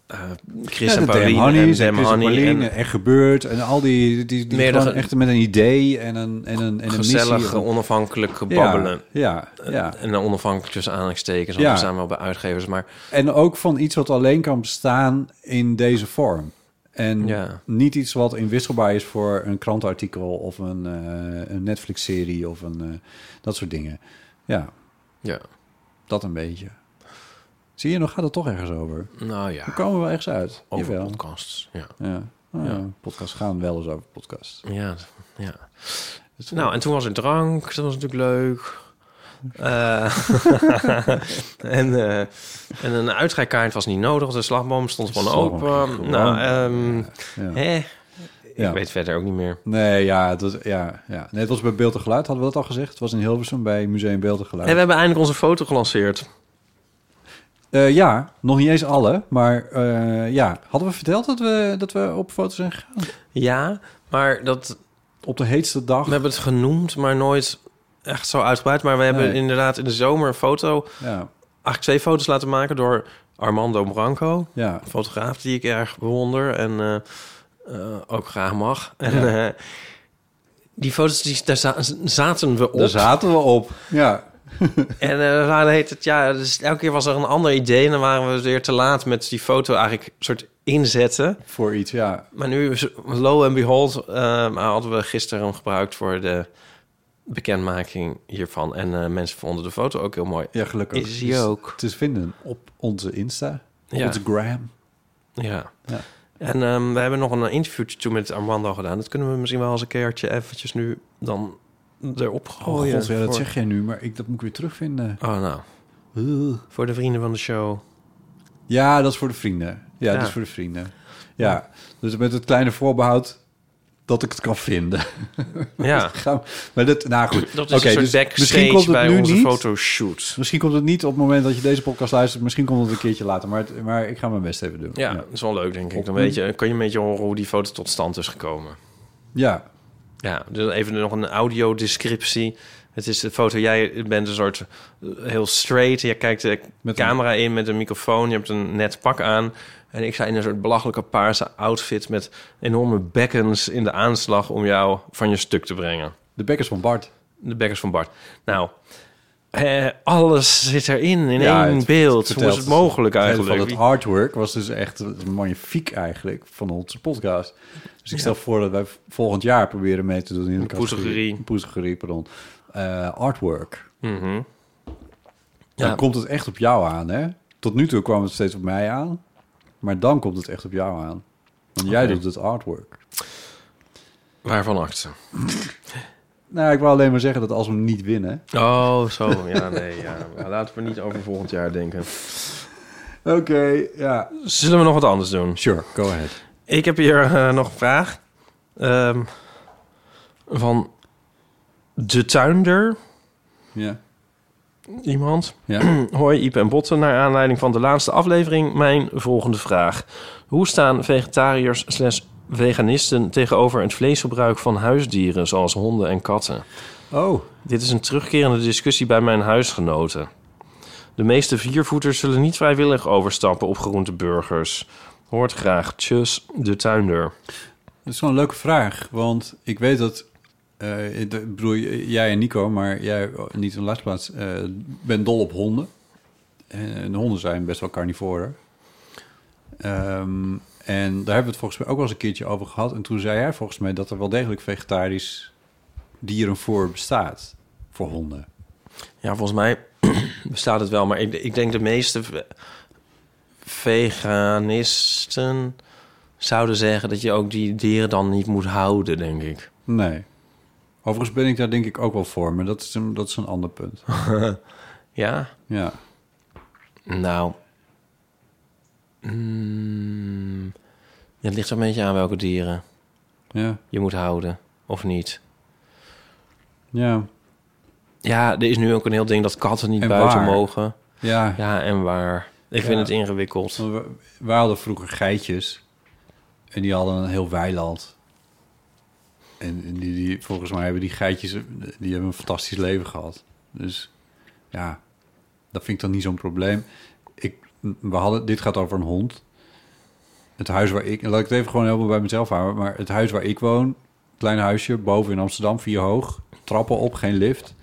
Speaker 2: eh, Chris
Speaker 1: Ja,
Speaker 2: en
Speaker 1: de
Speaker 2: Pauline
Speaker 1: Damn Honeys
Speaker 2: en
Speaker 1: en
Speaker 2: Dem
Speaker 1: Chris en
Speaker 2: Honey.
Speaker 1: Pauline
Speaker 2: En
Speaker 1: en Echt Gebeurd en al die... die, die
Speaker 2: Meer
Speaker 1: gewoon
Speaker 2: dan-
Speaker 1: echt met een idee en een, en een, en een missie.
Speaker 2: gezellig,
Speaker 1: om-
Speaker 2: onafhankelijk babbelen.
Speaker 1: ja, ja, ja.
Speaker 2: En dan onafhankelijk tussen aanhalingstekens. Want
Speaker 1: Ja.
Speaker 2: we staan wel bij uitgevers, maar...
Speaker 1: En ook van iets wat alleen kan bestaan in deze vorm. En
Speaker 2: Ja.
Speaker 1: niet iets wat inwisselbaar is voor een krantartikel of een, eh, een Netflix-serie of een, eh, dat soort dingen. Ja,
Speaker 2: Ja,
Speaker 1: dat een beetje. Zie je, nog gaat het toch ergens over.
Speaker 2: nou ja.
Speaker 1: We komen wel ergens uit.
Speaker 2: Over
Speaker 1: Jawel.
Speaker 2: podcasts, ja.
Speaker 1: Ja. Ah,
Speaker 2: Ja.
Speaker 1: Podcasts gaan wel eens over podcasts.
Speaker 2: Ja, ja.
Speaker 1: Dus-
Speaker 2: Nou, en toen was er drank. dus Dat was natuurlijk leuk. Eh, *laughs* en, eh, en een uitrijkaart was niet nodig. De slagboom stond gewoon
Speaker 1: Slagboom ging
Speaker 2: open.
Speaker 1: gewoon.
Speaker 2: Nou, ehm,
Speaker 1: ja.
Speaker 2: hè?
Speaker 1: Ja.
Speaker 2: Ik weet verder ook niet meer.
Speaker 1: Nee, ja, het was, ja, ja. Nee, het was bij Beeld en Geluid, hadden we dat al gezegd. Het was in Hilversum bij Museum Beeld en Geluid.
Speaker 2: En we hebben eindelijk onze foto gelanceerd.
Speaker 1: Eh, ja, nog niet eens alle, maar eh, ja. Hadden we verteld dat we, dat we op foto zijn gegaan?
Speaker 2: Ja, maar dat,
Speaker 1: Op de heetste dag.
Speaker 2: we hebben het genoemd, maar nooit echt zo uitgebreid. Maar we hebben
Speaker 1: Nee.
Speaker 2: inderdaad in de zomer een foto...
Speaker 1: Ja,
Speaker 2: Eigenlijk twee foto's laten maken door Armando Branco.
Speaker 1: ja.
Speaker 2: Een fotograaf die ik erg bewonder en eh, eh, ook graag mag. En
Speaker 1: Ja.
Speaker 2: eh, die foto's, die, daar za- zaten we op.
Speaker 1: daar zaten we op. Ja,
Speaker 2: en eh dan heet het, ja, dus elke keer was er een ander idee... en dan waren we weer te laat met die foto eigenlijk soort inzetten.
Speaker 1: voor iets, ja.
Speaker 2: Maar nu, is- lo and behold, eh, maar hadden we gisteren hem gebruikt voor de bekendmaking hiervan. En eh, mensen vonden de foto ook heel mooi.
Speaker 1: Ja, gelukkig.
Speaker 2: Is die ook.
Speaker 1: Te vinden op onze Insta, op
Speaker 2: Ja.
Speaker 1: onze gram.
Speaker 2: Ja.
Speaker 1: Ja.
Speaker 2: En ehm, we hebben nog een interviewtje toen met Armando gedaan. Dat kunnen we misschien wel eens een keertje eventjes nu dan erop
Speaker 1: Oh,
Speaker 2: gooien.
Speaker 1: god, ja, dat
Speaker 2: voor-
Speaker 1: zeg jij nu, maar ik, dat moet ik weer terugvinden.
Speaker 2: Oh, nou.
Speaker 1: Ugh.
Speaker 2: Voor de vrienden van de
Speaker 1: *laughs*
Speaker 2: show.
Speaker 1: Ja, dat is voor de vrienden. Ja,
Speaker 2: Ja.
Speaker 1: dat is voor de vrienden. Ja, dus met het kleine voorbehoud dat ik het kan vinden.
Speaker 2: Ja.
Speaker 1: Gaan we- maar dat, nou goed.
Speaker 2: Dat is
Speaker 1: Oké,
Speaker 2: een soort
Speaker 1: dus
Speaker 2: backstage bij onze fotoshoot.
Speaker 1: Misschien komt het niet op het moment dat je deze podcast luistert. Misschien komt het een keertje later. Maar, het- maar ik ga mijn best even doen.
Speaker 2: Ja,
Speaker 1: ja.
Speaker 2: dat is wel leuk, denk ik. Dan weet je, kan je een beetje horen hoe die foto tot stand is gekomen.
Speaker 1: Ja.
Speaker 2: Ja, dus even nog een audiodescriptie. Het is de foto, jij bent een soort eh, heel straight. Je kijkt de camera in met een microfoon. Je hebt een net pak aan. En ik sta in een soort belachelijke paarse outfit... met enorme bekkens in de aanslag om jou van je stuk te brengen.
Speaker 1: De bekkers van Bart.
Speaker 2: De bekkers van Bart. Nou, eh, alles zit erin, in
Speaker 1: Ja,
Speaker 2: één
Speaker 1: het
Speaker 2: beeld. Hoe
Speaker 1: vertelt-
Speaker 2: is het mogelijk
Speaker 1: het hele
Speaker 2: eigenlijk?
Speaker 1: Van het artwork was dus echt magnifiek eigenlijk van onze podcast. Dus ik stel voor dat wij volgend jaar proberen mee te doen in de
Speaker 2: poesgerie.
Speaker 1: Poesgerie, pardon. Eh, artwork.
Speaker 2: Mhm. Ja.
Speaker 1: Dan komt het echt op jou aan, hè? Tot nu toe kwam het steeds op mij aan. Maar dan komt het echt op jou aan. Want jij
Speaker 2: Oké.
Speaker 1: doet het artwork.
Speaker 2: Waarvan acte?
Speaker 1: Nou, ik wil alleen maar zeggen dat als we hem niet winnen...
Speaker 2: Oh, zo. Ja, nee. Ja. Nou, Laten we niet over volgend jaar denken.
Speaker 1: Oké, ja.
Speaker 2: Zullen we nog wat anders doen?
Speaker 1: Sure, go ahead.
Speaker 2: Ik heb hier eh, nog een vraag. Ehm, van de tuinder.
Speaker 1: Ja.
Speaker 2: Iemand. *clears throat*
Speaker 1: Ja.
Speaker 2: Hoi, Iep en Botten. Naar aanleiding van de laatste aflevering mijn volgende vraag. Hoe staan vegetariërs slash veganisten tegenover het vleesgebruik van huisdieren zoals honden en katten?
Speaker 1: Oh,
Speaker 2: Dit is een terugkerende discussie bij mijn huisgenoten. De meeste viervoeters zullen niet vrijwillig overstappen op groenteburgers. Hoort graag. Tjus, de tuinder.
Speaker 1: Dat is wel een leuke vraag, want ik weet dat... eh, ik bedoel, jij en Nico, maar jij eh, niet in de laatste plaats... eh bent dol op honden. En de honden zijn best wel carnivoren. Ehm, en daar hebben we het volgens mij ook wel eens een keertje over gehad. En toen zei jij volgens mij dat er wel degelijk vegetarisch dierenvoer bestaat voor honden.
Speaker 2: Ja, volgens mij *clears throat* bestaat het wel, maar ik, ik denk de meeste ve- veganisten zouden zeggen dat je ook die dieren dan niet moet houden, denk ik.
Speaker 1: Nee. Overigens ben ik daar denk ik ook wel voor, maar dat is een, dat is een ander punt.
Speaker 2: Ja?
Speaker 1: Ja.
Speaker 2: Nou. Mm, het ligt er een beetje aan welke dieren
Speaker 1: Ja.
Speaker 2: je moet houden of niet.
Speaker 1: Ja.
Speaker 2: Ja, er is nu ook een heel ding dat katten niet
Speaker 1: En
Speaker 2: buiten
Speaker 1: waar?
Speaker 2: mogen.
Speaker 1: Ja.
Speaker 2: Ja, en waar. Ik
Speaker 1: Ja.
Speaker 2: vind het ingewikkeld.
Speaker 1: Want We, we hadden vroeger geitjes. En die hadden een heel weiland. En, en die, die, volgens mij hebben die geitjes die hebben een fantastisch leven gehad. Dus ja, dat vind ik dan niet zo'n probleem. Ik, we hadden, dit gaat over een hond. Het huis waar ik... Laat ik het even gewoon helemaal bij mezelf houden. Maar het huis waar ik woon... Klein huisje, boven in Amsterdam, vier hoog. Trappen op, geen lift.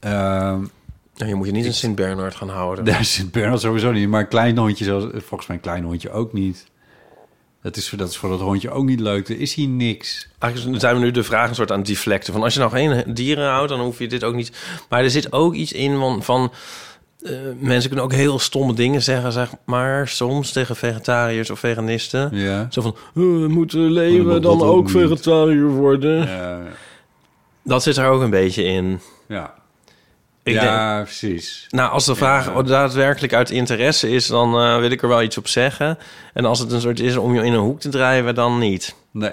Speaker 1: Ehm
Speaker 2: Ja, je moet je niet een Sint-Bernard gaan
Speaker 1: *laughs*
Speaker 2: houden.
Speaker 1: daar zit Bernard sowieso niet. Maar een klein hondje, zoals, volgens mij een klein hondje ook niet. Dat is, voor- dat is voor dat hondje ook niet leuk. Er is hier niks.
Speaker 2: Eigenlijk zijn we nu de vraag een soort aan het deflecten. Van als je nou geen dieren houdt, dan hoef je dit ook niet. Maar er zit ook iets in van... van eh, mensen kunnen ook heel stomme dingen zeggen, zeg maar. Soms tegen vegetariërs of veganisten.
Speaker 1: Ja.
Speaker 2: Zo van, "Eh, we moeten
Speaker 1: Maar
Speaker 2: leven
Speaker 1: dat
Speaker 2: dan
Speaker 1: ook
Speaker 2: ook
Speaker 1: niet."
Speaker 2: vegetariër worden.
Speaker 1: Eh,
Speaker 2: Dat zit er ook een beetje in.
Speaker 1: ja.
Speaker 2: Ik denk,
Speaker 1: ja, precies.
Speaker 2: nou, als de vraag daadwerkelijk uit interesse is, dan eh, wil ik er wel iets op zeggen. En als het een soort is om je in een hoek te drijven, dan niet.
Speaker 1: Nee.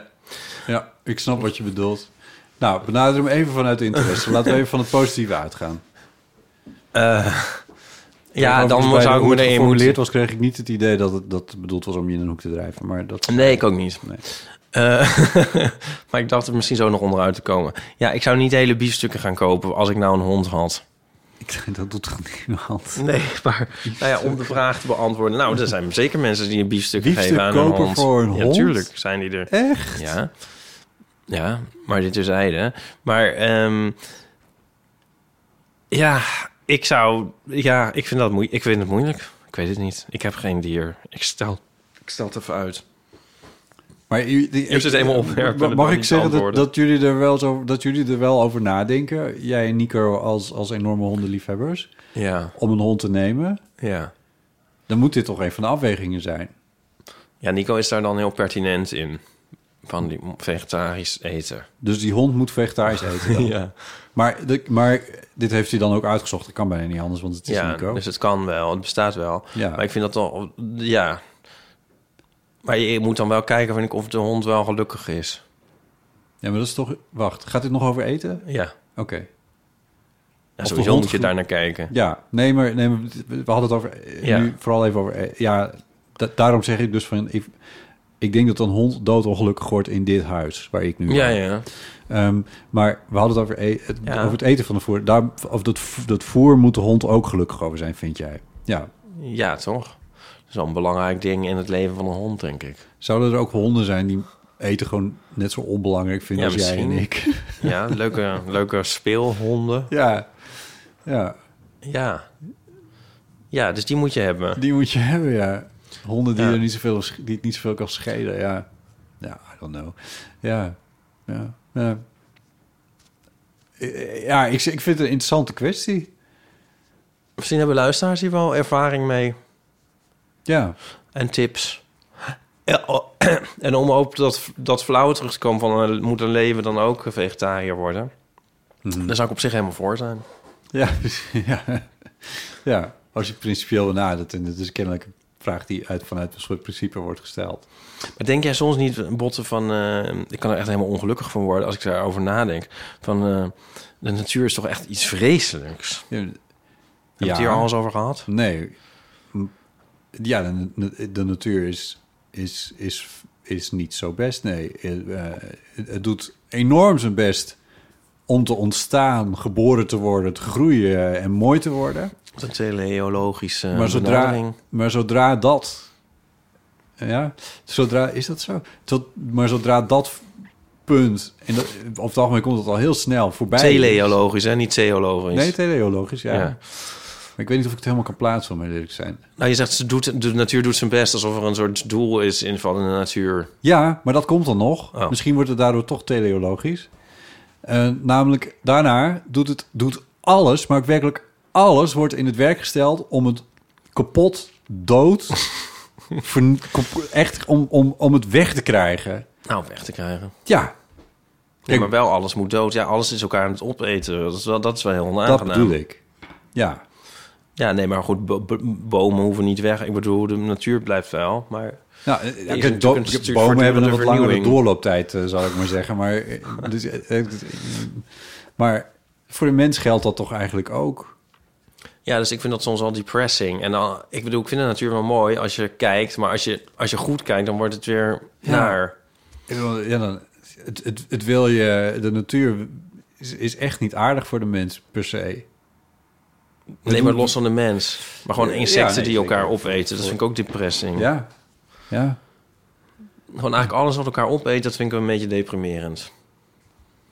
Speaker 1: Ja, ik snap wat je bedoelt. Nou, benader hem even vanuit de
Speaker 2: *laughs*
Speaker 1: interesse. Laten we even van het positieve uitgaan.
Speaker 2: Eh, *laughs* ja, dan
Speaker 1: Overigens, bij
Speaker 2: zou
Speaker 1: hoe
Speaker 2: ik me
Speaker 1: het
Speaker 2: erin
Speaker 1: geformuleerd
Speaker 2: moeten...
Speaker 1: was, kreeg ik niet het idee dat het, dat het bedoeld was om je in een hoek te drijven. Maar dat... *laughs*
Speaker 2: Nee, ik ook niet.
Speaker 1: Nee.
Speaker 2: Eh, *laughs* maar ik dacht er misschien zo nog onderuit te komen. Ja, ik zou niet hele biefstukken gaan kopen als ik nou een hond had.
Speaker 1: Ik, dat doet toch niemand?
Speaker 2: Nee, maar nou ja, om de vraag te beantwoorden. Nou, er zijn zeker mensen die een biefstuk,
Speaker 1: Biefstuk
Speaker 2: geven aan
Speaker 1: kopen
Speaker 2: een hond.
Speaker 1: voor een
Speaker 2: ja,
Speaker 1: hond?
Speaker 2: tuurlijk zijn die er.
Speaker 1: Echt?
Speaker 2: Ja. ja, maar dit is zijde. Maar ehm, ja, ik zou... Ja, ik vind, dat moe ik vind het moeilijk. Ik weet het niet. Ik heb geen dier. Ik stel, ik stel het even uit.
Speaker 1: Maar je, die- eh,
Speaker 2: hebt het eenmaal opgewerkt en het
Speaker 1: Mag
Speaker 2: mag
Speaker 1: ik
Speaker 2: niet
Speaker 1: zeggen dat,
Speaker 2: beantwoorden.
Speaker 1: dat, jullie er wel zo, dat jullie er wel over nadenken? Jij en Nico als, als enorme hondenliefhebbers.
Speaker 2: Ja,
Speaker 1: Om een hond te nemen.
Speaker 2: ja.
Speaker 1: Dan moet dit toch een van de afwegingen zijn.
Speaker 2: Ja, Nico is daar dan heel pertinent in. Van die vegetarisch eten.
Speaker 1: Dus die hond moet vegetarisch eten
Speaker 2: *laughs*
Speaker 1: dan.
Speaker 2: Ja.
Speaker 1: maar, de- maar dit heeft hij dan ook uitgezocht. Dat kan bijna niet anders, want het is
Speaker 2: Ja,
Speaker 1: Nico.
Speaker 2: dus het kan wel. Het bestaat wel.
Speaker 1: Ja.
Speaker 2: Maar ik vind dat dan... Ja. Maar je moet dan wel kijken vind ik, of de hond wel gelukkig is.
Speaker 1: Ja, maar dat is toch... Wacht, gaat dit nog over eten?
Speaker 2: Ja.
Speaker 1: Oké.
Speaker 2: ja
Speaker 1: Of de
Speaker 2: sowieso
Speaker 1: hond
Speaker 2: moet je
Speaker 1: gelu-
Speaker 2: daar naar kijken.
Speaker 1: Ja, nee, maar, nee, maar we hadden het over, eh,
Speaker 2: Ja.
Speaker 1: nu vooral even over... eh, Ja, da- daarom zeg ik dus van... Ik, ik denk dat een hond doodongelukkig wordt in dit huis waar ik nu
Speaker 2: Ja,
Speaker 1: woon.
Speaker 2: ja.
Speaker 1: Ehm, maar we hadden het over, e- het,
Speaker 2: Ja.
Speaker 1: over het eten van de voer. Daar, of dat, v- dat voer moet de hond ook gelukkig over zijn, vind jij? Ja.
Speaker 2: Ja, toch? Dat is wel een belangrijk ding in het leven van een hond, denk ik.
Speaker 1: Zouden er ook honden zijn die eten gewoon net zo onbelangrijk vinden
Speaker 2: Ja,
Speaker 1: als jij en
Speaker 2: misschien.
Speaker 1: ik? *laughs*
Speaker 2: Ja, *laughs* leuke, leuke speelhonden.
Speaker 1: ja. ja,
Speaker 2: Ja. Ja, dus die moet je hebben.
Speaker 1: die moet je hebben, ja. Honden die,
Speaker 2: Ja.
Speaker 1: Er niet zoveel, sch- die het niet zoveel kan schelen, ja. Ja, I don't know. Ja, ja, ja. Eh, Ja, ik, ik vind het een interessante kwestie.
Speaker 2: Misschien hebben luisteraars hier wel ervaring mee
Speaker 1: Ja,
Speaker 2: en tips. oh, *clears throat* En om op dat, dat flauw terug te komen van eh, moet een leven dan ook vegetariër worden.
Speaker 1: Mhm.
Speaker 2: Daar zou ik op zich helemaal voor zijn.
Speaker 1: ja, *laughs* ja. ja. Als je principieel benadert. En dat is kennelijk een vraag die uit, vanuit een soort principe wordt gesteld.
Speaker 2: Maar denk jij soms niet, botten van... eh, ik kan er echt helemaal ongelukkig van worden als ik daarover nadenk. Van eh, de natuur is toch echt iets vreselijks.
Speaker 1: Ja,
Speaker 2: Heb je het hier al eens over gehad?
Speaker 1: Nee. M- Ja, de, de natuur is, is, is, is niet zo best. Nee, Eh, eh, het, het doet enorm zijn best om te ontstaan, geboren te worden, te groeien en mooi te worden.
Speaker 2: Dat is een teleologische
Speaker 1: maar, zodra,
Speaker 2: benadering.
Speaker 1: maar zodra dat... Ja, zodra... Is dat zo? Tot, maar zodra dat punt... En dat, op het algemeen komt het al heel snel voorbij.
Speaker 2: Teleologisch, hè? Niet theologisch.
Speaker 1: Nee, teleologisch, ja.
Speaker 2: Ja.
Speaker 1: Maar ik weet niet of ik het helemaal kan plaatsen, om eerlijk te zijn.
Speaker 2: Nou, je zegt, ze doet, de natuur doet zijn best alsof er een soort doel is in van de natuur.
Speaker 1: Ja, maar dat komt dan nog.
Speaker 2: Oh.
Speaker 1: Misschien wordt het daardoor toch teleologisch. Eh, namelijk, daarna doet het doet alles, maar ook werkelijk alles wordt in het werk gesteld om het kapot, dood,
Speaker 2: *laughs*
Speaker 1: vern- kap- echt om, om, om het weg te krijgen.
Speaker 2: Nou, om weg te krijgen.
Speaker 1: Ja,
Speaker 2: Ja,
Speaker 1: Ik-
Speaker 2: maar wel alles moet dood. Ja, alles is elkaar aan het opeten. Dat is wel, dat is wel heel onaangenaam.
Speaker 1: dat bedoel ik. Ja,
Speaker 2: Ja, nee, maar goed, bo- bo- bomen hoeven niet weg. Ik bedoel, de natuur blijft wel, maar...
Speaker 1: Nou, eh,
Speaker 2: Er is
Speaker 1: kijk,
Speaker 2: natuurlijk
Speaker 1: do-
Speaker 2: een stuur
Speaker 1: bomen hebben
Speaker 2: voortdurende
Speaker 1: een wat langere
Speaker 2: vernieuwing.
Speaker 1: doorlooptijd, eh, zal ik maar zeggen. Maar, eh, dus, eh, eh, maar voor de mens geldt dat toch eigenlijk ook?
Speaker 2: Ja, dus ik vind dat soms al depressing. En dan, ik bedoel, ik vind de natuur wel mooi als je kijkt. Maar als je, als je goed kijkt, dan wordt het weer
Speaker 1: Ja.
Speaker 2: naar.
Speaker 1: Ik bedoel, Ja, dan, het, het, het wil je, de natuur is, is echt niet aardig voor de mens per se.
Speaker 2: Nee, maar los van de mens. Maar gewoon
Speaker 1: Ja,
Speaker 2: insecten
Speaker 1: nee,
Speaker 2: die
Speaker 1: zeker.
Speaker 2: elkaar opeten. Dat vind ik ook depressing.
Speaker 1: Ja, ja.
Speaker 2: Gewoon eigenlijk alles wat elkaar opeet, dat vind ik een beetje deprimerend.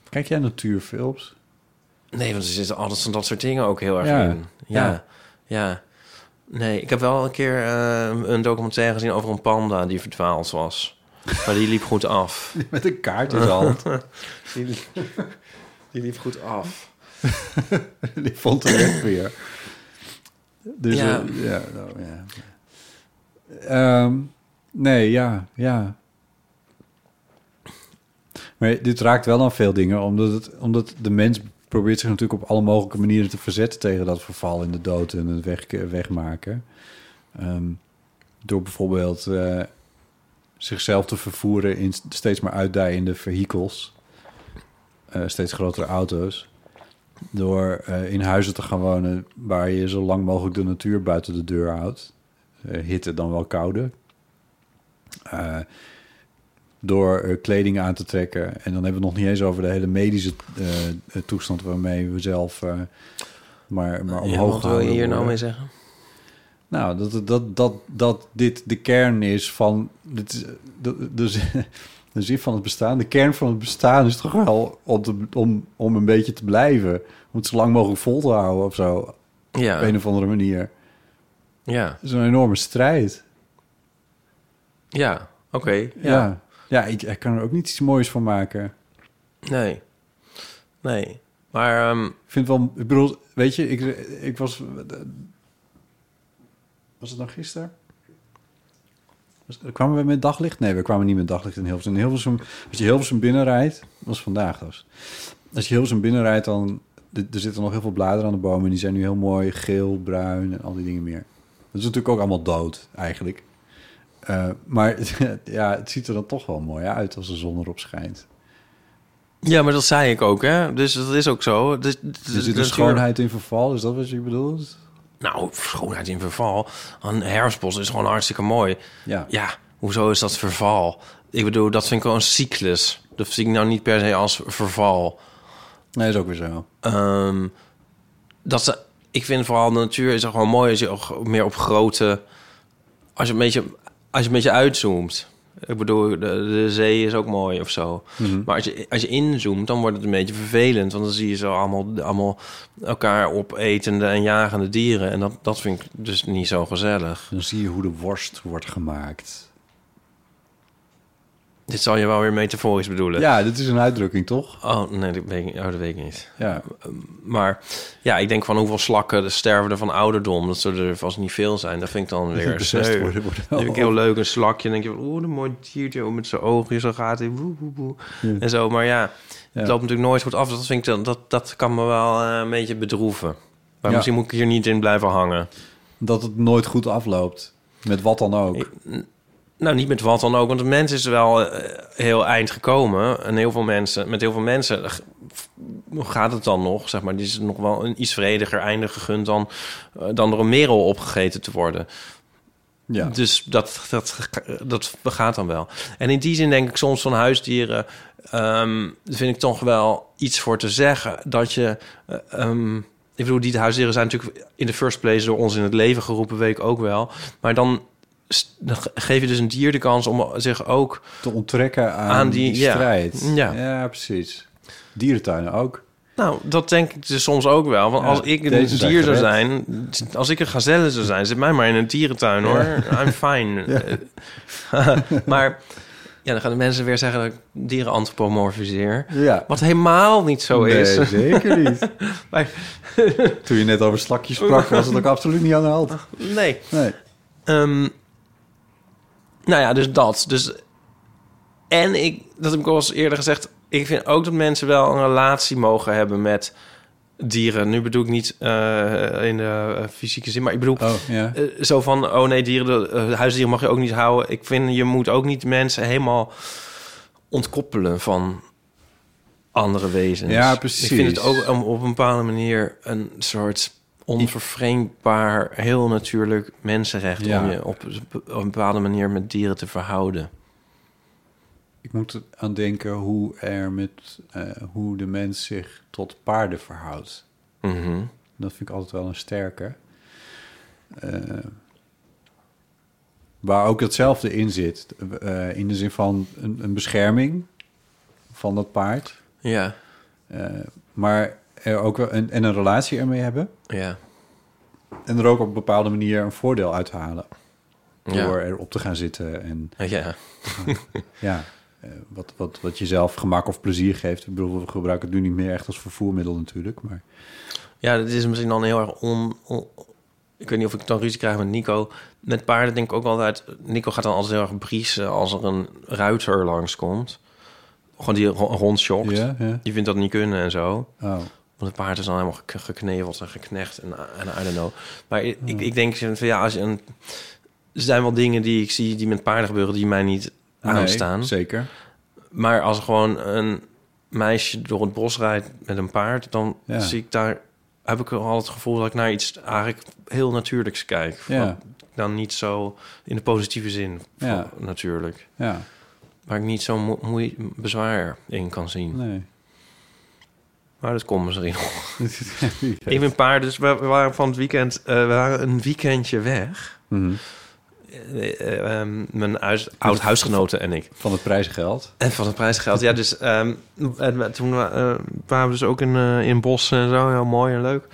Speaker 1: Kijk jij natuurfilms? *laughs*
Speaker 2: Nee, want er zitten altijd van dat soort dingen ook heel erg
Speaker 1: Ja.
Speaker 2: in. Ja.
Speaker 1: Ja.
Speaker 2: ja, Nee, ik heb wel een keer eh, een documentaire gezien over een panda die verdwaald was. Maar die liep goed af.
Speaker 1: Met een kaart in de hand.
Speaker 2: *laughs* Die, liep goed af.
Speaker 1: *laughs* Die vond de weg weer. Dus eh, ja,
Speaker 2: Ja.
Speaker 1: nou, ja. Ehm, nee, ja, ja. Maar dit raakt wel aan veel dingen, omdat, het, omdat de mens probeert zich natuurlijk op alle mogelijke manieren te verzetten tegen dat verval in de dood en het weg, wegmaken. Ehm, door bijvoorbeeld eh, zichzelf te vervoeren in steeds maar uitdijende vehikels, eh, steeds grotere auto's. Door eh, in huizen te gaan wonen waar je zo lang mogelijk de natuur buiten de deur houdt. Eh, hitte dan wel koude. Eh, door eh, kleding aan te trekken. En dan hebben we het nog niet eens over de hele medische eh, eh, toestand waarmee we zelf eh, maar, maar omhoog
Speaker 2: Ja, wat wil je
Speaker 1: gehouden
Speaker 2: hier nou
Speaker 1: worden.
Speaker 2: mee zeggen?
Speaker 1: Nou, dat, dat, dat, dat dit de kern is van. Dit, is- dus, de, de, *laughs* zin- de zin van het bestaan. De kern van het bestaan is toch wel om, te- om, om een beetje te blijven. Om het zo lang mogelijk vol te houden of zo. Op
Speaker 2: Ja,
Speaker 1: een of andere manier.
Speaker 2: ja,
Speaker 1: Het is een enorme strijd.
Speaker 2: ja. Oké,
Speaker 1: Ja. Ja, ik, ik kan er ook niet iets moois van maken.
Speaker 2: Nee. Nee. Maar ehm,
Speaker 1: Ik vind wel, ik bedoel, weet je, ik, ik was. Was het nou gisteren? Was- Kwamen we met daglicht? Nee, we kwamen niet met daglicht in Hilversum. In Hilversum als je Hilversum binnenrijdt, was vandaag dus. Als je Hilversum binnenrijdt, dan er er zitten nog heel veel bladeren aan de bomen. En die zijn nu heel mooi geel, bruin en al die dingen meer. Dat is natuurlijk ook allemaal dood, eigenlijk. Eh, maar *laughs* ja, het ziet er dan toch wel mooi uit als de zon erop schijnt.
Speaker 2: ja, maar dat zei ik ook, hè? Dus dat is ook zo. Dus,
Speaker 1: Er zit een schoonheid in verval, is dat wat je bedoelt?
Speaker 2: Nou, schoonheid in verval. Een herfstbos is gewoon hartstikke mooi.
Speaker 1: Ja.
Speaker 2: Ja, hoezo is dat verval? Ik bedoel, dat vind ik wel een cyclus. Dat zie ik nou niet per se als verval.
Speaker 1: Nee, is ook weer zo.
Speaker 2: Ehm, dat ze, ik vind vooral de natuur is gewoon mooi als je ook meer op grote... Als je een beetje, als je een beetje uitzoomt. Ik bedoel, de, de zee is ook mooi of zo.
Speaker 1: Mhm.
Speaker 2: Maar als je, als je inzoomt, dan wordt het een beetje vervelend. Want dan zie je zo allemaal, allemaal elkaar opetende en jagende dieren. En dat, dat vind ik dus niet zo gezellig.
Speaker 1: Dan zie je hoe de worst wordt gemaakt.
Speaker 2: Dit zal je wel weer metaforisch bedoelen.
Speaker 1: Ja, dit is een uitdrukking, toch?
Speaker 2: Oh, nee, dat weet ik, oh, dat weet ik niet.
Speaker 1: Ja.
Speaker 2: Maar ja, ik denk van hoeveel slakken er sterven er van ouderdom. Dat zullen er vast niet veel zijn. Dat vind ik
Speaker 1: *laughs*
Speaker 2: dan weer
Speaker 1: Best
Speaker 2: sneu.
Speaker 1: worden, worden
Speaker 2: Dan heb ik heel leuk een slakje. En denk je, oeh, een mooi diertje oh, met zijn oogjes. Zo gaat hij, woe, woe, woe.
Speaker 1: Ja.
Speaker 2: En zo, maar ja,
Speaker 1: Ja.
Speaker 2: het loopt natuurlijk nooit goed af. Dat, vind ik dan, dat, dat kan me wel eh, een beetje bedroeven.
Speaker 1: Ja.
Speaker 2: Maar misschien moet ik hier niet in blijven hangen.
Speaker 1: Dat het nooit goed afloopt. Met wat dan ook.
Speaker 2: Nou, niet met wat dan ook, want de mens is wel eh, heel eind gekomen. En heel veel mensen, met heel veel mensen g- gaat het dan nog, zeg maar. Die is nog wel een iets vrediger einde gegund dan, eh, dan door een merel opgegeten te worden.
Speaker 1: Ja.
Speaker 2: Dus dat, dat, dat gaat dan wel. En in die zin denk ik soms van huisdieren... ehm, vind ik toch wel iets voor te zeggen. Dat je... eh, ehm, ik bedoel, die huisdieren zijn natuurlijk in de first place... door ons in het leven geroepen, weet ik ook wel. Maar dan, s- dan ge- geef je dus een dier de kans om zich ook...
Speaker 1: Te onttrekken aan,
Speaker 2: Aan die-
Speaker 1: die,
Speaker 2: ja.
Speaker 1: strijd.
Speaker 2: Ja.
Speaker 1: precies. Dierentuinen ook.
Speaker 2: Nou, dat denk ik dus soms ook wel. Want
Speaker 1: Ja,
Speaker 2: als ik een
Speaker 1: deze zijn
Speaker 2: dier zou
Speaker 1: gered.
Speaker 2: zijn... Als ik een gazelle zou zijn... Zit mij maar in een dierentuin, hoor. I'm
Speaker 1: *laughs*
Speaker 2: fine. Eh, *laughs* maar... Ja, dan gaan de mensen weer zeggen dat ik dieren antropomorfiseer.
Speaker 1: Ja.
Speaker 2: Wat helemaal niet zo
Speaker 1: nee,
Speaker 2: is.
Speaker 1: zeker niet.
Speaker 2: *laughs* Maar-
Speaker 1: Toen je net over slakjes sprak, was het ook absoluut niet aan de hand.
Speaker 2: Nee.
Speaker 1: Nee.
Speaker 2: Ehm, nou ja, dus dat. Dus, en ik, dat heb ik al eens eerder gezegd. Ik vind ook dat mensen wel een relatie mogen hebben met dieren. Nu bedoel ik niet eh, in de eh, fysieke zin, maar ik bedoel
Speaker 1: Oh, ja.
Speaker 2: eh, zo van: oh nee, dieren, eh, huisdieren mag je ook niet houden. Ik vind je moet ook niet mensen helemaal ontkoppelen van andere wezens.
Speaker 1: Ja, precies.
Speaker 2: Ik vind het ook om- op een bepaalde manier een soort onvervreemdbaar, heel natuurlijk mensenrecht
Speaker 1: Ja.
Speaker 2: om je op een bepaalde manier met dieren te verhouden.
Speaker 1: Ik moet er aan denken hoe, er met, eh, hoe de mens zich tot paarden verhoudt.
Speaker 2: Mhm.
Speaker 1: Dat vind ik altijd wel een sterke. Eh, waar ook hetzelfde in zit. eh, in de zin van een, een bescherming van dat paard.
Speaker 2: Ja,
Speaker 1: Eh, maar er ook wel een, en een relatie ermee hebben.
Speaker 2: ja,
Speaker 1: En er ook op een bepaalde manier een voordeel uit te halen.
Speaker 2: Ja.
Speaker 1: Door erop te gaan zitten en
Speaker 2: ja.
Speaker 1: ja, eh, wat, wat, wat jezelf gemak of plezier geeft. Ik bedoel, we gebruiken het nu niet meer echt als vervoermiddel natuurlijk. Maar
Speaker 2: Ja, dat is misschien dan heel erg on, on- Ik weet niet of ik dan ruzie krijg met Nico. Met paarden denk ik ook altijd... Nico gaat dan altijd heel erg briesen als er een ruiter langskomt. Gewoon die ro- rondschokt.
Speaker 1: Ja, ja.
Speaker 2: Die vindt dat niet kunnen en zo.
Speaker 1: oh,
Speaker 2: Want het paard is dan helemaal gek- gekneveld en geknecht en, en I don't know. Maar ik,
Speaker 1: Oh.
Speaker 2: ik, ik denk van ja, als je een... Er zijn wel dingen die ik zie die met paarden gebeuren die mij niet aanstaan.
Speaker 1: Nee, zeker.
Speaker 2: Maar als er gewoon een meisje door het bos rijdt met een paard, dan
Speaker 1: Ja.
Speaker 2: zie ik daar heb ik al het gevoel dat ik naar iets eigenlijk heel natuurlijks kijk.
Speaker 1: Ja.
Speaker 2: Wat Dan niet zo in de positieve zin van
Speaker 1: Ja.
Speaker 2: natuurlijk.
Speaker 1: Ja,
Speaker 2: Waar ik niet zo moe, moe- bezwaar in kan zien.
Speaker 1: nee. *laughs*
Speaker 2: Maar dat komt misschien nog. Ik ben paard, dus we, we waren van het weekend... eh, we waren een weekendje weg.
Speaker 1: Mhm.
Speaker 2: Eh, eh, ehm, mijn huis, oud-huisgenoten en ik.
Speaker 1: Van het prijzengeld.
Speaker 2: En van het prijsgeld, ja. Dus ehm, en we- toen wa- eh, waren we dus ook in, eh, in bossen en zo. Heel mooi en leuk.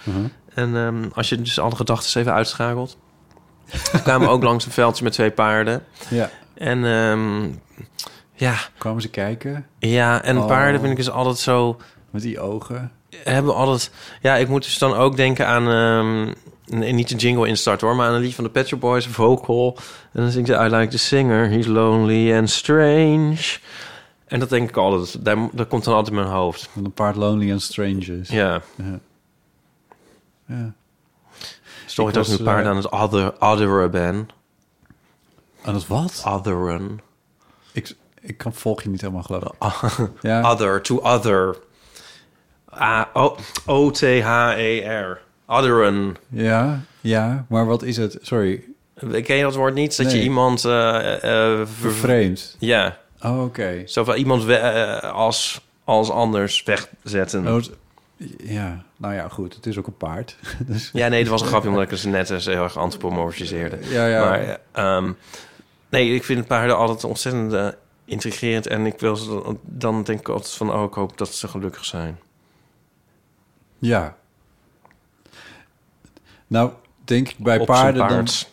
Speaker 2: En ehm, als je dus alle gedachten even uitschakelt... *laughs* kwamen we ook langs een veldje met twee paarden.
Speaker 1: Ja.
Speaker 2: En ehm, Ja,
Speaker 1: Kwamen ze kijken
Speaker 2: ja en
Speaker 1: Oh.
Speaker 2: paarden vind ik dus altijd zo...
Speaker 1: met die ogen.
Speaker 2: Hebben altijd... Ja, ik moet dus dan ook denken aan... ehm, nee, niet een jingle instart hoor, maar aan een lied van de Pet Shop Boys, Vocal. En dan zingt ze, I like the singer, he's lonely and strange. En dat denk ik altijd, daar, dat komt dan altijd in mijn hoofd.
Speaker 1: Van een paard Lonely and Strange is.
Speaker 2: Ja.
Speaker 1: Ja. Ja.
Speaker 2: Sorry
Speaker 1: Ik
Speaker 2: dat
Speaker 1: was,
Speaker 2: ik een paard
Speaker 1: eh,
Speaker 2: aan het other, otheren ben.
Speaker 1: En dat wat?
Speaker 2: Otheren.
Speaker 1: Ik, ik kan volg je niet helemaal geloven. *laughs*
Speaker 2: Oh.
Speaker 1: ja.
Speaker 2: Other, to other. A- O- O-T-H-E-R. Otheren.
Speaker 1: ja, ja, maar wat is het? Sorry,
Speaker 2: Ken je dat woord niet? Dat je
Speaker 1: Nee.
Speaker 2: iemand... eh, eh, ver-
Speaker 1: vreemd.
Speaker 2: ja,
Speaker 1: Oh, oké.
Speaker 2: zo van iemand we- eh, als, als anders wegzetten.
Speaker 1: Oh, het- ja, nou ja, goed. Het is ook een paard. *laughs* dus,
Speaker 2: Ja, nee, dat was een grapje, omdat ik het net eens heel erg antropomorfiseerde.
Speaker 1: Ja, ja.
Speaker 2: Maar, eh, ehm, nee, ik vind paarden altijd ontzettend eh, intrigerend. En ik wil ze dan, dan denk ik altijd van, oh, ik hoop dat ze gelukkig zijn.
Speaker 1: ja. Nou, denk ik bij
Speaker 2: Op zijn
Speaker 1: paarden dan...
Speaker 2: paard.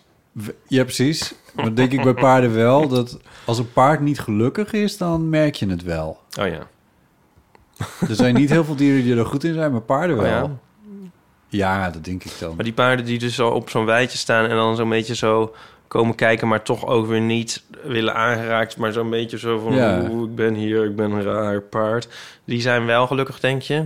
Speaker 1: Ja, precies. Maar denk ik bij paarden wel dat als een paard niet gelukkig is, dan merk je het wel.
Speaker 2: Oh ja.
Speaker 1: Er zijn niet heel veel dieren die er goed in zijn, maar paarden
Speaker 2: Oh,
Speaker 1: wel.
Speaker 2: ja.
Speaker 1: ja. dat denk ik dan.
Speaker 2: Maar die paarden die dus zo op zo'n weidje staan en dan zo'n beetje zo komen kijken, maar toch ook weer niet willen aangeraakt, maar zo'n beetje zo van,
Speaker 1: Ja.
Speaker 2: oeh, ik ben hier, ik ben een raar paard. Die zijn wel gelukkig, denk je?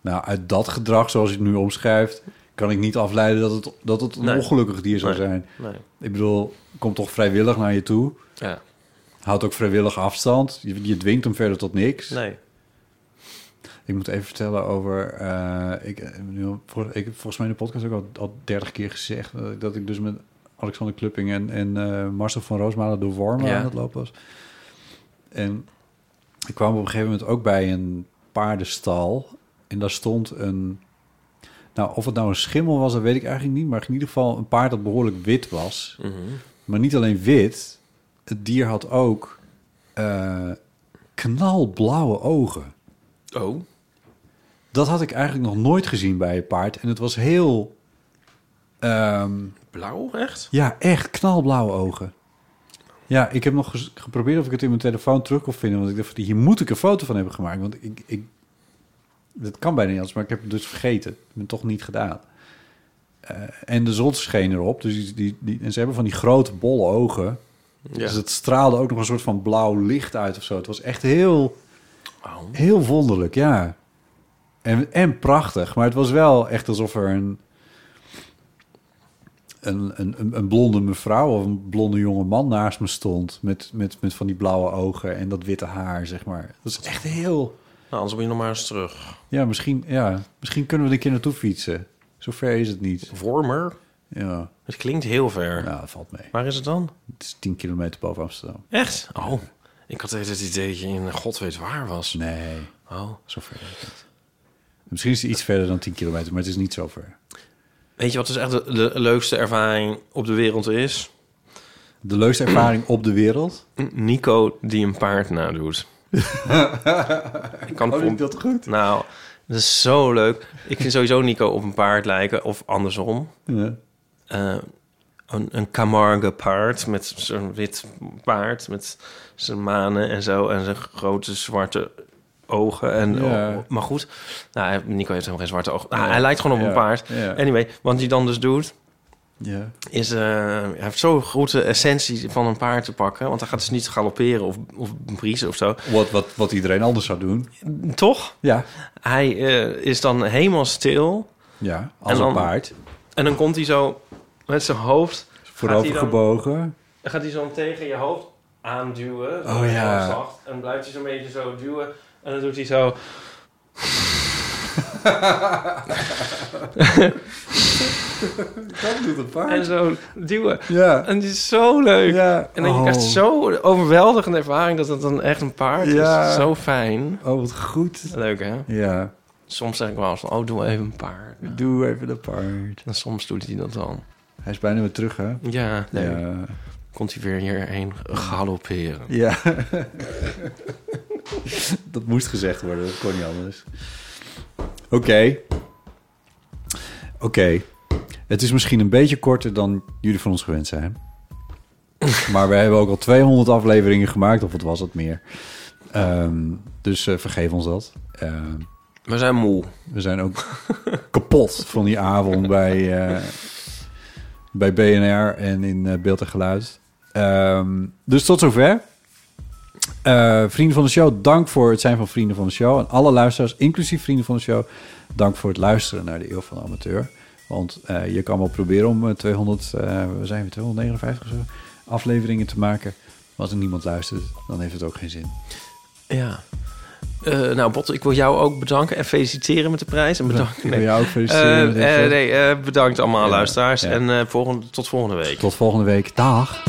Speaker 1: Nou, uit dat gedrag, zoals je het nu omschrijft, kan ik niet afleiden dat het, dat het een
Speaker 2: Nee.
Speaker 1: ongelukkig dier zou
Speaker 2: Nee.
Speaker 1: zijn.
Speaker 2: Nee.
Speaker 1: Ik bedoel, komt toch vrijwillig naar je toe.
Speaker 2: Ja.
Speaker 1: Houdt ook vrijwillig afstand. Je, je dwingt hem verder tot niks.
Speaker 2: Nee.
Speaker 1: Ik moet even vertellen over... eh, ik, eh, nu al- vol- ik heb volgens mij in de podcast ook al, al 30 keer gezegd... eh, dat ik dus met Alexander Klupping en, en eh, Marcel van Roosmalen door Wormen
Speaker 2: Ja.
Speaker 1: aan het lopen was. En ik kwam op een gegeven moment ook bij een paardenstal. En daar stond een... Nou, of het nou een schimmel was, dat weet ik eigenlijk niet. Maar in ieder geval een paard dat behoorlijk wit was. Maar niet alleen wit. Het dier had ook eh, knalblauwe ogen.
Speaker 2: Oh.
Speaker 1: Dat had ik eigenlijk nog nooit gezien bij een paard. En het was heel... ehm,
Speaker 2: Blauw, echt?
Speaker 1: ja, echt knalblauwe ogen. Ja, ik heb nog ges- geprobeerd of ik het in mijn telefoon terug kon vinden. Want ik dacht, van, hier moet ik een foto van hebben gemaakt. Want ik... ik dat kan bijna niet anders, maar ik heb het dus vergeten. Ik heb het toch niet gedaan. Eh, en de zon scheen erop. Dus die, die, die- en ze hebben van die grote, bolle ogen.
Speaker 2: Ja.
Speaker 1: Dus het straalde ook nog een soort van blauw licht uit of zo. Het was echt heel, heel wonderlijk, ja. En, en prachtig, maar het was wel echt alsof er een, een, een, een- een blonde mevrouw of een blonde jonge man naast me stond. Met, met, met van die blauwe ogen en dat witte haar, zeg maar. Dat is echt heel...
Speaker 2: Nou, anders moet je nog maar eens terug.
Speaker 1: Ja, misschien, ja, misschien kunnen we er een keer naartoe fietsen. Zover is het niet.
Speaker 2: Wormer?
Speaker 1: Ja,
Speaker 2: Het klinkt heel ver.
Speaker 1: nou, dat valt mee.
Speaker 2: Waar is het dan?
Speaker 1: Het is 10 kilometer boven Amsterdam.
Speaker 2: Echt? Oh. Ik had het idee dat je in god weet waar was.
Speaker 1: Nee.
Speaker 2: Oh.
Speaker 1: Zo ver is het. Misschien is het iets verder dan 10 kilometer, maar het is niet zo ver.
Speaker 2: Weet je wat dus echt de, de leukste ervaring op de wereld is?
Speaker 1: De leukste ervaring op de wereld.
Speaker 2: Nico die een
Speaker 1: *laughs*
Speaker 2: paard nadoet. ik kan
Speaker 1: Vond
Speaker 2: voor-
Speaker 1: ik dat goed?
Speaker 2: Nou, dat is zo leuk. Ik vind sowieso Nico op een paard lijken, of andersom.
Speaker 1: Ja.
Speaker 2: Eh, een, een Camargue paard met zo'n wit paard met zijn manen en zo en zijn grote zwarte ogen. En,
Speaker 1: Ja.
Speaker 2: oh, maar goed, nou, hij- Nico heeft helemaal geen zwarte ogen. Nou, Hij lijkt gewoon op
Speaker 1: Ja.
Speaker 2: een paard.
Speaker 1: Ja.
Speaker 2: Anyway, wat hij dan dus doet,
Speaker 1: ja.
Speaker 2: is, eh, hij heeft zo goed de essentie van een paard te pakken. Want hij gaat dus niet galopperen of, of briezen of zo.
Speaker 1: Wat, wat, wat iedereen anders zou doen.
Speaker 2: Toch?
Speaker 1: Ja.
Speaker 2: Hij eh, is dan helemaal stil.
Speaker 1: Ja, als
Speaker 2: En dan-
Speaker 1: een paard.
Speaker 2: En dan komt hij zo met zijn hoofd...
Speaker 1: Voorover
Speaker 2: hij dan- *laughs*
Speaker 1: gebogen.
Speaker 2: Dan gaat hij zo tegen je hoofd aanduwen.
Speaker 1: Oh, ja.
Speaker 2: Heel zacht. En blijft hij zo'n beetje zo duwen. En dan doet hij zo...
Speaker 1: Dat doet een
Speaker 2: En zo duwen.
Speaker 1: Ja.
Speaker 2: En het is zo leuk.
Speaker 1: ja. Oh.
Speaker 2: En dan je krijgt zo'n overweldigende ervaring dat het dan echt een paard
Speaker 1: Ja.
Speaker 2: is. Zo fijn.
Speaker 1: Oh, wat goed.
Speaker 2: Leuk, hè?
Speaker 1: Ja.
Speaker 2: Soms zeg ik wel eens van, oh, doe even een paard.
Speaker 1: Doe even een paard.
Speaker 2: En soms doet hij dat dan.
Speaker 1: Hij is bijna weer terug, hè?
Speaker 2: Ja, leuk.
Speaker 1: Ja.
Speaker 2: Komt hij weer hierheen galopperen.
Speaker 1: Ja. *laughs* dat moest gezegd worden, dat kon niet anders. Oké. Oké. Het is misschien een beetje korter dan jullie van ons gewend zijn. maar we hebben ook al 200 afleveringen gemaakt, of wat was het meer. Ehm, dus eh, vergeef ons dat. Ehm,
Speaker 2: We zijn moe.
Speaker 1: we zijn ook *laughs* kapot van die avond bij, eh, bij BNR en in eh, beeld en geluid. Ehm, dus tot zover. Eh, vrienden van de show, dank voor het zijn van vrienden van de show. En alle luisteraars, inclusief vrienden van de show, dank voor het luisteren naar de Eeuw van de Amateur. Want eh, je kan wel proberen om eh, 200, eh, we zijn weer 259 of zo, afleveringen te maken. Maar als er niemand luistert, dan heeft het ook geen zin.
Speaker 2: Ja. Eh, nou, Botte, ik wil jou ook bedanken en feliciteren met de prijs. En bedankt.
Speaker 1: ik wil jou ook feliciteren
Speaker 2: Eh,
Speaker 1: met deze.
Speaker 2: eh, nee, eh, bedankt allemaal,
Speaker 1: Ja,
Speaker 2: luisteraars.
Speaker 1: ja.
Speaker 2: En eh, volgende, tot volgende week.
Speaker 1: Tot volgende week. Dag.